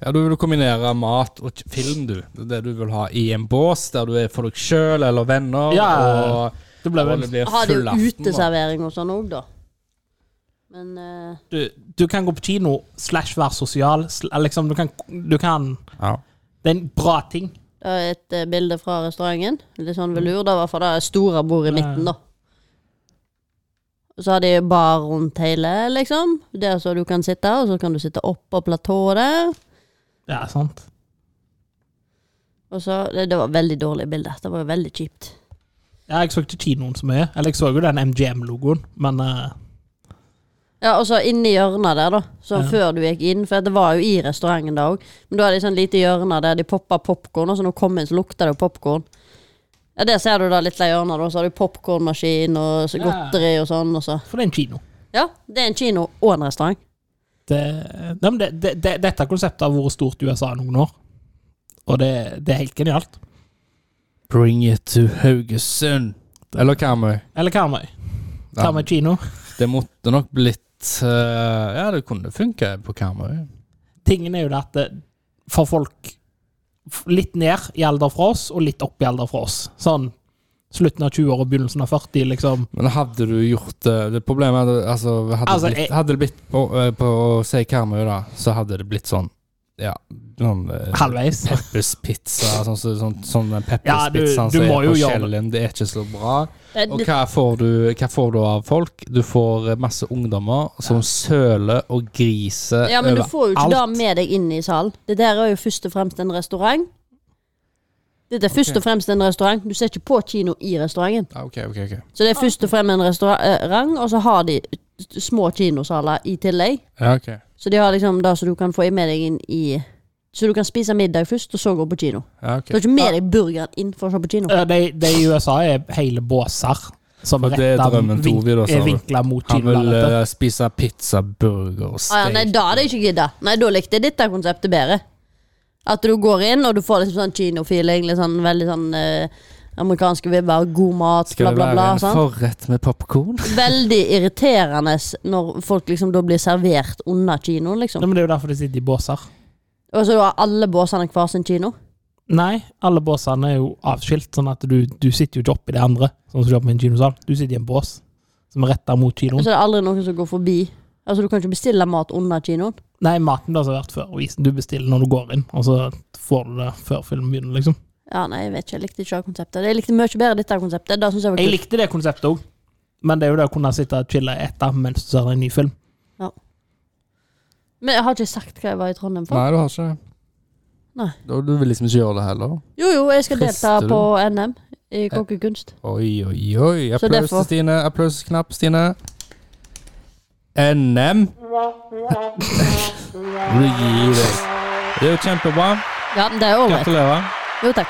Speaker 2: Ja, Du vil kombinere mat og k- film, du. Det er det du vil ha i en bås, der du er for deg sjøl eller venner.
Speaker 3: Ja,
Speaker 2: og,
Speaker 3: det ble
Speaker 2: og
Speaker 3: vel
Speaker 2: det blir
Speaker 1: Har de
Speaker 2: full
Speaker 1: jo
Speaker 2: aften. da.
Speaker 1: uteservering og sånn òg, da. Men eh,
Speaker 3: du, du kan gå på kino slash være sosial. sl- Liksom, du, kan, du kan
Speaker 2: Ja.
Speaker 3: Det er en bra ting.
Speaker 1: det er et eh, bilde fra restauranten. Litt sånn velur, da, i hvert fall. Det er store bord i
Speaker 3: Ja, ja.
Speaker 1: midten, da. Og så har de bar rundt hele, liksom. Der så du kan sitte, og så kan du sitte oppå platået der.
Speaker 3: Ja, sant.
Speaker 1: Og så, det, det var veldig dårlig bilde. Det var jo veldig kjipt.
Speaker 3: Ja, jeg så ikke kinoen så mye. Eller jeg så jo den MGM-logoen, men eh,
Speaker 1: Ja, og så inni hjørnet der, da. Sånn
Speaker 3: Ja.
Speaker 1: før du gikk inn, for det var jo i restauranten da òg. Men da hadde de sånn lite hjørne der de poppa popkorn, og så når du kom inn, så lukta det jo popkorn. Ja, der ser du da litt av hjørnet, da. Så har du popkornmaskin og så godteri og sånn, og så
Speaker 3: For det er en kino.
Speaker 1: Ja, det er en kino og en restaurant.
Speaker 3: Det, nei, men det, det, det, dette konseptet har vært stort i USA i noen år, og det, det er helt genialt.
Speaker 2: Bring it to Haugesund. Eller Karmøy.
Speaker 3: Eller Karmøy.
Speaker 2: Ja,
Speaker 3: Karmøy kino.
Speaker 2: Det måtte nok blitt eh, Ja, det kunne funka på Karmøy.
Speaker 3: Tingen er jo det at det, for folk f- litt ned i alder fra oss, og litt opp i alder fra oss. Sånn slutten av 20 år og begynnelsen av 40, liksom.
Speaker 2: Men hadde du gjort det Det problemet er at- altså, hadde,
Speaker 3: Altså,
Speaker 2: det blitt,
Speaker 3: jeg-
Speaker 2: hadde det blitt på, eh, på å si Karmøy, da, så hadde det blitt sånn Ja, sånn eh,
Speaker 3: Halvveis.
Speaker 2: Peppers pizza, sånn som sånn, sånn, den Peppers
Speaker 3: Ja, du-
Speaker 2: pizzaen
Speaker 3: du
Speaker 2: som
Speaker 3: må
Speaker 2: er
Speaker 3: jo
Speaker 2: på
Speaker 3: gjøre det.
Speaker 2: Kjellen, det er ikke så bra.
Speaker 1: Det,
Speaker 2: Og
Speaker 1: det,
Speaker 2: hva får du, hva får du av folk? Du får eh, masse ungdommer som søler og griser
Speaker 1: ja, men du får jo ikke
Speaker 2: overalt.
Speaker 1: det med deg inn i salen. Det der er jo først og fremst en restaurant. Dette er først
Speaker 2: Ok.
Speaker 1: og fremst en restaurant. Du ser ikke på kino i restauranten.
Speaker 2: Ja, Ah, ok, ok, ok.
Speaker 1: Så det er først og fremst en restaurant, og så har de eh, små kinosaler i tillegg.
Speaker 2: Ja, ok.
Speaker 1: Så de har liksom det som du kan få med deg inn i Så du kan spise middag først, og så gå på kino.
Speaker 2: Ja,
Speaker 1: Du har
Speaker 2: ok.
Speaker 1: ikke med deg burgeren inn for å se på kino.
Speaker 3: Ja, de, de Eh, i USA er hele båser som
Speaker 2: Og det er
Speaker 3: rettet
Speaker 2: drømmen til
Speaker 3: vink-
Speaker 2: Ovi, da, sa
Speaker 3: er
Speaker 2: du.
Speaker 3: vinkla mot
Speaker 2: Han vil
Speaker 3: kinolerretet.
Speaker 2: eh, spise pizza, burger og
Speaker 1: Ah, ja,
Speaker 2: steak.
Speaker 1: nei, da hadde jeg ikke gidda. Nei, da likte jeg dette konseptet bedre. At du går inn, og du får liksom sånn kinofeeling. Litt sånn veldig sånn eh, amerikanske vibber, god mat,
Speaker 2: Skal
Speaker 1: bla,
Speaker 2: det
Speaker 1: bla,
Speaker 2: være
Speaker 1: bla.
Speaker 2: en
Speaker 1: Sånn.
Speaker 2: forrett med popkorn?
Speaker 1: Veldig irriterende s- når folk liksom da blir servert under kinoen,
Speaker 3: Nei,
Speaker 1: liksom.
Speaker 3: men Det er jo derfor de sitter i båser.
Speaker 1: Og så har alle båsene hver sin kino.
Speaker 3: Nei, alle båsene er jo avskilt, sånn at du, du sitter jo ikke oppi det andre. Sånn som du gjør på en kinosal. Du sitter i en bås som er retta mot
Speaker 1: Og
Speaker 3: kinoen.
Speaker 1: så er det aldri noen som går forbi. Altså, du kan ikke bestille mat under kinoen.
Speaker 2: Altså-
Speaker 3: Nei, maten blir servert før avisen. Du bestiller når du går inn, og så får du det før filmen begynner, liksom.
Speaker 1: Ja, nei, jeg vet ikke. Jeg likte ikke det konseptet. Jeg likte mye bedre dette konseptet. Da synes jeg var
Speaker 3: Jeg
Speaker 1: kult.
Speaker 3: likte det konseptet òg, men det er jo det å kunne sitte og chille og ete mens du ser en ny film.
Speaker 1: Men jeg har ikke sagt hva jeg var i Trondheim for.
Speaker 2: Nei, du har ikke det.
Speaker 1: Nei.
Speaker 2: Da- Du vil liksom ikke gjøre det heller?
Speaker 1: Jo, jo, jeg skal
Speaker 2: Trist,
Speaker 1: delta
Speaker 2: du. Eh.
Speaker 1: på NM i kokkekunst.
Speaker 2: Oi, oi, oi.
Speaker 1: Så
Speaker 2: Applaus
Speaker 1: derfor-
Speaker 2: til Stine. Applausknapp, Stine. NM. Du gir deg. Det er jo kjempebra.
Speaker 1: Ja, det er ålreit.
Speaker 2: Gratulerer.
Speaker 1: Jo, takk.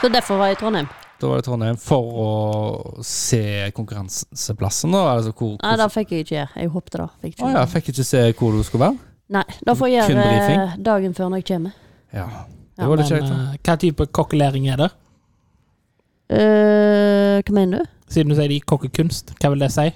Speaker 1: Så derfor var jeg i Trondheim.
Speaker 2: Da var det Trondheim for å se konkurranseplassen, da. Altså hvor,
Speaker 1: Nei,
Speaker 2: hvor
Speaker 1: det fikk jeg ikke gjøre. Jeg håpte det. Fikk ikke
Speaker 2: Å ja, fikk ikke se hvor du skulle være?
Speaker 1: Nei, det får jeg
Speaker 2: Kun
Speaker 1: gjøre
Speaker 2: briefing?
Speaker 1: eh, dagen før når jeg kommer.
Speaker 2: Ja.
Speaker 1: Ja,
Speaker 2: Det var litt
Speaker 3: Men,
Speaker 2: kjekt. da.
Speaker 3: eh, hva type kokkelering er det?
Speaker 1: Eh, hva mener du?
Speaker 3: Siden du sier de kokkekunst, hva vil det si?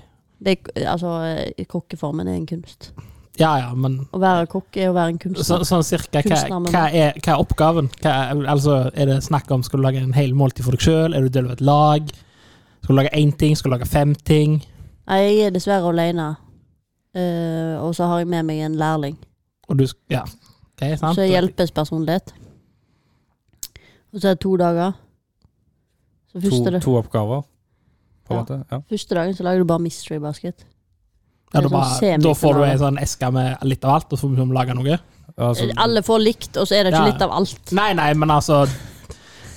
Speaker 1: Det er, k- altså, eh, kokkeformen er en kunst.
Speaker 3: Ja ja, men
Speaker 1: Å være kokk er å være en kunstner.
Speaker 3: så, sånn cirka, hva,
Speaker 1: Kunstnerne.
Speaker 3: hva, er, hva er oppgaven? Hva er, altså, er det snakk om skal du lage en hel måltid for deg sjøl? Er du del av et lag? Skal du lage én ting? Skal du lage fem ting?
Speaker 1: Nei, jeg er dessverre alene. Eh, og så har jeg med meg en lærling.
Speaker 3: Og du, sk- ja. Ok, sant?
Speaker 1: Så er hjelpespersonlighet. Og så er det to dager. Så
Speaker 2: To,
Speaker 1: første,
Speaker 2: to oppgaver, på en
Speaker 1: Ja.
Speaker 2: måte. Ja.
Speaker 1: første dagen så lager du bare mystery basket.
Speaker 3: Ja,
Speaker 1: Det er
Speaker 3: da,
Speaker 1: sånn
Speaker 3: bare, da får du
Speaker 1: semifinale.
Speaker 3: ei sånn eske med litt av alt, og så må du lage noe.
Speaker 2: Altså,
Speaker 1: Alle får likt, og så er det ikke
Speaker 3: Ja.
Speaker 1: litt av alt.
Speaker 3: Nei, nei, men altså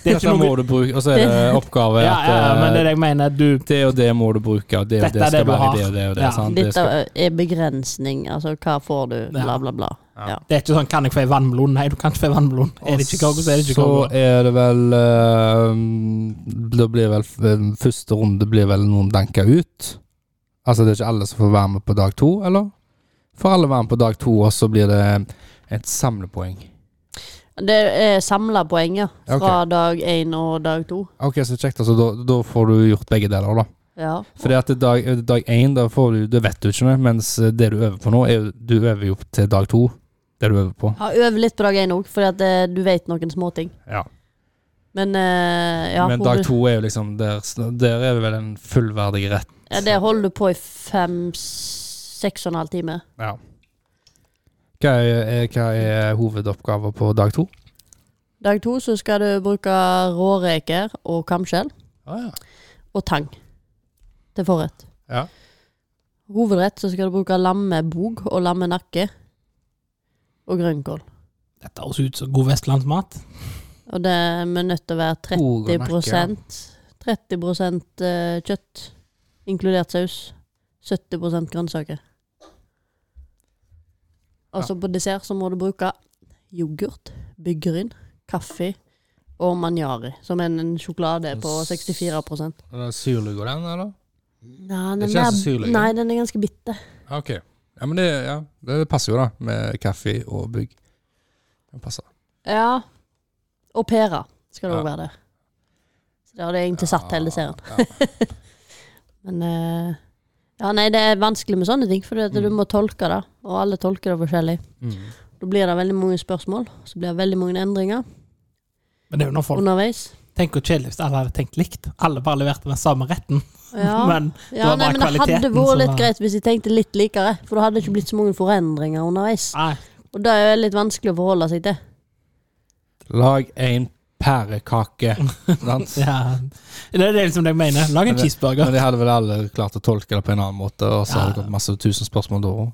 Speaker 3: Det er
Speaker 2: dette
Speaker 3: ikke
Speaker 2: må
Speaker 3: noe
Speaker 2: du bruke, og så er det oppgave
Speaker 3: ja, ja,
Speaker 2: at
Speaker 3: ja, men det
Speaker 2: eh,
Speaker 3: er det jeg mener. Du
Speaker 2: det og det må du bruke, og det og
Speaker 3: Dette
Speaker 2: det
Speaker 3: er det
Speaker 2: skal
Speaker 3: du
Speaker 2: være
Speaker 3: har.
Speaker 2: det og det og det.
Speaker 3: Ja.
Speaker 2: Sant? Det
Speaker 1: Dette
Speaker 2: skal,
Speaker 1: er begrensning. Altså hva får du, bla, bla, bla. Ja.
Speaker 3: Det er ikke sånn 'kan jeg få ei vannmelon'? Nei, du kan ikke få ei vannmelon. Er det ikke kakao, så er det ikke
Speaker 2: så
Speaker 3: kakao.
Speaker 2: er det vel eh, Det blir vel eh, Første runde blir vel noen danka ut. Altså det er ikke alle som får være med på dag to, eller? Får alle være med på dag to, og så blir det et samlepoeng.
Speaker 1: Det er samla poenger fra dag én og dag to.
Speaker 2: Ok, så kjekt. Altså, da, da får du gjort begge deler, da.
Speaker 1: Ja.
Speaker 2: Fordi at dag, eh, dag én, da får du Det vet du ikke, mens eh, det du øver på nå, er, du øver jo til dag to. Det du øver på.
Speaker 1: Ja, Øv litt på dag én òg, for at eh, du vet noen småting.
Speaker 2: Ja.
Speaker 1: Men eh, ja,
Speaker 2: Men dag to er jo liksom Der, der er det vel en fullverdig rett.
Speaker 1: ja, det holder du på i fem, seks og en halv time.
Speaker 2: Ja. Hva er, er- hva er hovedoppgaven på dag to?
Speaker 1: Dag to så skal du bruke råreker og kamskjell
Speaker 2: Ah, ja.
Speaker 1: og tang til forrett.
Speaker 2: Ja.
Speaker 1: Hovedrett så skal du bruke lammebog og lammenakke og grønnkål.
Speaker 3: Dette høres ut som god vestlandsmat.
Speaker 1: Og det er vi nødt til å være 30
Speaker 2: Bog og nakke, ja.
Speaker 1: 30 eh, kjøtt, inkludert saus. 70 grønnsaker. Altså på dessert så må du bruke yoghurt, byggryn, kaffe og manjari, som er en sjokolade på 64
Speaker 2: Syrlig og den, eller?
Speaker 1: Nei, den
Speaker 2: Det er
Speaker 1: er,
Speaker 2: ikke så syrlig,
Speaker 1: nei, den er ganske bitter.
Speaker 2: Ah, Ok. Ja, men det, passer jo, da. Med kaffe og bygg. Det passer.
Speaker 1: Ja. Og pære skal det
Speaker 2: Ja.
Speaker 1: òg være der. Så det hadde jeg egentlig satt hele serien. Men eh, Ja, nei, det er vanskelig med sånne ting, for du
Speaker 2: Mm.
Speaker 1: må tolke det. Og alle tolker det forskjellig. Da blir det veldig mange spørsmål, så blir det veldig mange endringer
Speaker 3: Men det er jo når folk
Speaker 1: underveis.
Speaker 3: Tenk hvor kjedelig hvis alle hadde tenkt likt. Alle bare leverte den samme retten.
Speaker 1: Ja.
Speaker 3: Men det
Speaker 1: Ja,
Speaker 3: var
Speaker 1: nei,
Speaker 3: bare
Speaker 1: men det
Speaker 3: kvaliteten
Speaker 1: hadde vært
Speaker 3: som
Speaker 1: litt
Speaker 3: var-
Speaker 1: greit hvis jeg tenkte litt likere, for da hadde det ikke blitt så mange forandringer
Speaker 2: Ah.
Speaker 1: underveis.
Speaker 3: Nei,
Speaker 1: Og det er litt vanskelig å forholde seg til.
Speaker 2: Lag en pærekake. Sant?
Speaker 3: ja. Det er det liksom det jeg mener. Lag en
Speaker 2: Men det- Men
Speaker 3: cheeseburger.
Speaker 2: de hadde vel alle klart å tolke det på en annen måte, og så
Speaker 3: Ja.
Speaker 2: har det gått masse tusen spørsmål da òg.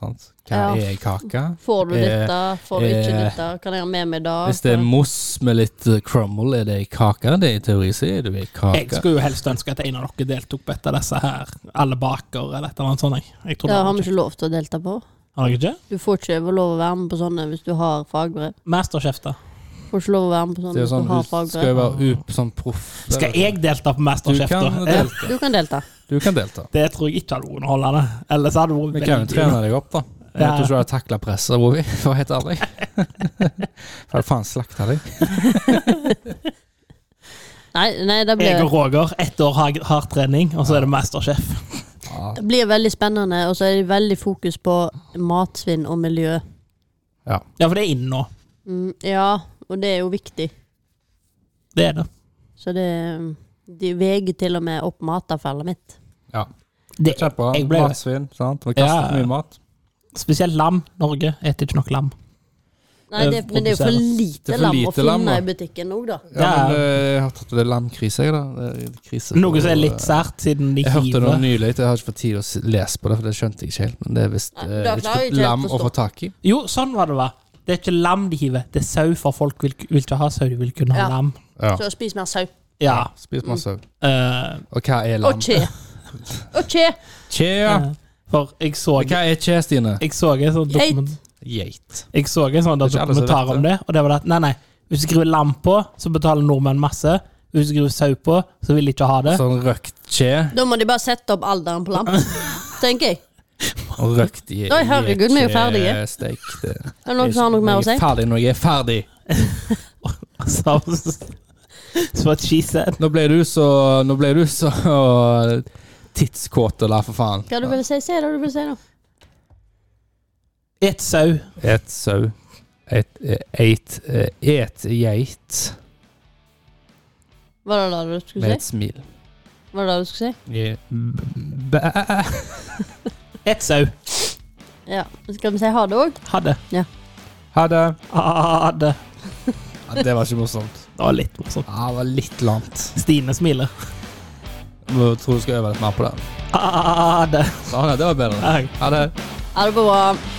Speaker 2: Hva
Speaker 1: Ja.
Speaker 2: er ei kake?
Speaker 1: Får du
Speaker 2: Eh,
Speaker 1: dette? Får du ikke
Speaker 2: eh,
Speaker 1: dette? Kan jeg ha med meg det?
Speaker 2: Hvis det er mousse med litt eh, crumble, er det ei kake? Det er I teori så er det jo ei
Speaker 3: Jeg
Speaker 2: kake.
Speaker 3: skulle jo helst ønske at en av dere deltok på et av disse her. Alle baker eller et eller annet sånt. Jeg, jeg
Speaker 1: Det
Speaker 3: tror det
Speaker 1: har
Speaker 3: var
Speaker 1: vi
Speaker 3: kjekt.
Speaker 1: ikke lov til å delta på.
Speaker 3: Har dere ikke?
Speaker 1: Du får ikke lov å være med på sånne hvis du har fagbrev.
Speaker 3: Masterchef, da.
Speaker 1: Får ikke lov å være med på
Speaker 2: Det
Speaker 1: sånne
Speaker 2: er jo
Speaker 1: hvis
Speaker 2: sånn,
Speaker 1: du har
Speaker 2: du skal jo
Speaker 1: fagbrev.
Speaker 2: være up, sånn proff.
Speaker 3: Skal jeg delta på
Speaker 2: Du
Speaker 3: Masterchef, da?
Speaker 2: kan
Speaker 3: Eh,
Speaker 2: delta.
Speaker 1: Du kan delta.
Speaker 2: Du kan delta.
Speaker 3: Det tror jeg ikke hadde vært underholdende. Ellers hadde det
Speaker 2: Vi
Speaker 3: vært
Speaker 2: kan jo trene deg opp, da. Jeg
Speaker 3: Ja.
Speaker 2: tror ikke du hadde takla presset, Rovi, for å være helt ærlig. For hadde faen slakta deg.
Speaker 1: Nei, nei det,
Speaker 3: Jeg
Speaker 1: blir,
Speaker 3: og Roger, ett år hard, hard trening, og så er det Masterchef.
Speaker 2: Ja.
Speaker 1: det blir veldig spennende, og så er det veldig fokus på matsvinn og miljø.
Speaker 3: Ja, for det er inn nå.
Speaker 1: Mm, ja, og det er jo viktig.
Speaker 3: Det er det.
Speaker 1: Så det De veger til og med opp matavfallet mitt.
Speaker 2: ja.
Speaker 3: det
Speaker 2: Kjempebra.
Speaker 3: jeg ble-
Speaker 2: Matsvinn, sant. Vi kaster
Speaker 3: Ja.
Speaker 2: for mye mat.
Speaker 3: spesielt lam. Norge spiser ikke nok lam.
Speaker 1: Nei, det,
Speaker 3: Eh,
Speaker 1: men det er jo for
Speaker 3: produserer.
Speaker 1: lite
Speaker 2: Det er for
Speaker 1: lam å
Speaker 2: lite lam,
Speaker 1: finne
Speaker 2: da.
Speaker 1: i butikken òg, da.
Speaker 2: Ja,
Speaker 3: Ja.
Speaker 2: men eh, jeg har tatt det er landkrise, jeg, da. Det er krise på-
Speaker 3: Noe som er litt sært, siden de
Speaker 2: Jeg hørte noe
Speaker 3: hiver.
Speaker 2: nylig, jeg har ikke fått tid å s- lese på det, for det skjønte jeg ikke helt. Men det er visst
Speaker 1: Nei,
Speaker 2: eh,
Speaker 1: da klarer jeg
Speaker 2: ikke
Speaker 1: ikke helt
Speaker 2: lam
Speaker 1: å
Speaker 2: å få
Speaker 1: stå.
Speaker 2: tak i.
Speaker 3: Jo, sånn var det, va. Det er ikke lam de hiver, det er sau, for folk vil, vil ikke ha sau, de vil kunne ha
Speaker 1: Ja.
Speaker 3: lam.
Speaker 2: Ja.
Speaker 1: Så spis mer sau.
Speaker 3: Ja.
Speaker 2: Spis masse.
Speaker 3: eh,
Speaker 2: Og hva er lam?
Speaker 1: Og kje. Og kje.
Speaker 2: Kje, ja.
Speaker 3: eh, for jeg så
Speaker 2: Og hva er kje, Stine?
Speaker 3: jeg så en sånn dokument,
Speaker 2: Geit.
Speaker 3: jeg så en sånn
Speaker 2: Det er ikke alle som
Speaker 3: dokumentar
Speaker 2: vet
Speaker 3: om det, og det var det at nei, nei, hvis du skriver lam på, så betaler nordmenn masse. Hvis du skrur sau på, så vil de ikke ha det.
Speaker 2: Sånn røkt skje
Speaker 1: Da må de bare sette opp alderen på lam, tenker jeg.
Speaker 2: og røkt i
Speaker 1: Oi, herregud, vi er jo ferdige.
Speaker 2: Steik.
Speaker 1: Er det noen som har noe mer å si?
Speaker 2: Jeg er ferdig når jeg er ferdig.
Speaker 3: Så, så at she said.
Speaker 2: Nå ble du så, nå ble du så tidskåt, da, for faen.
Speaker 1: Hva du ville si? Si det du ville si, da.
Speaker 3: Et sau.
Speaker 2: Et sau. Et eh, eit eh, Et geit
Speaker 1: Var det det du
Speaker 2: med
Speaker 1: skulle
Speaker 2: et
Speaker 1: si?
Speaker 2: smil.
Speaker 1: Var det det du skulle si?
Speaker 2: Jeg- b- bæ-
Speaker 3: Et sau.
Speaker 1: Ja. Skal vi si ha det òg?
Speaker 3: Ha det.
Speaker 2: Ha det.
Speaker 3: Ha det.
Speaker 2: Ja, det var ikke morsomt.
Speaker 3: Det var litt morsomt.
Speaker 2: Ja, det var litt lamt.
Speaker 3: Stine smiler.
Speaker 2: Må- Tror du skal øve litt mer på det.
Speaker 3: Ha det.
Speaker 2: Sånn, ja, det var bedre.
Speaker 3: Nei.
Speaker 2: Ha det.
Speaker 1: Ha det bra.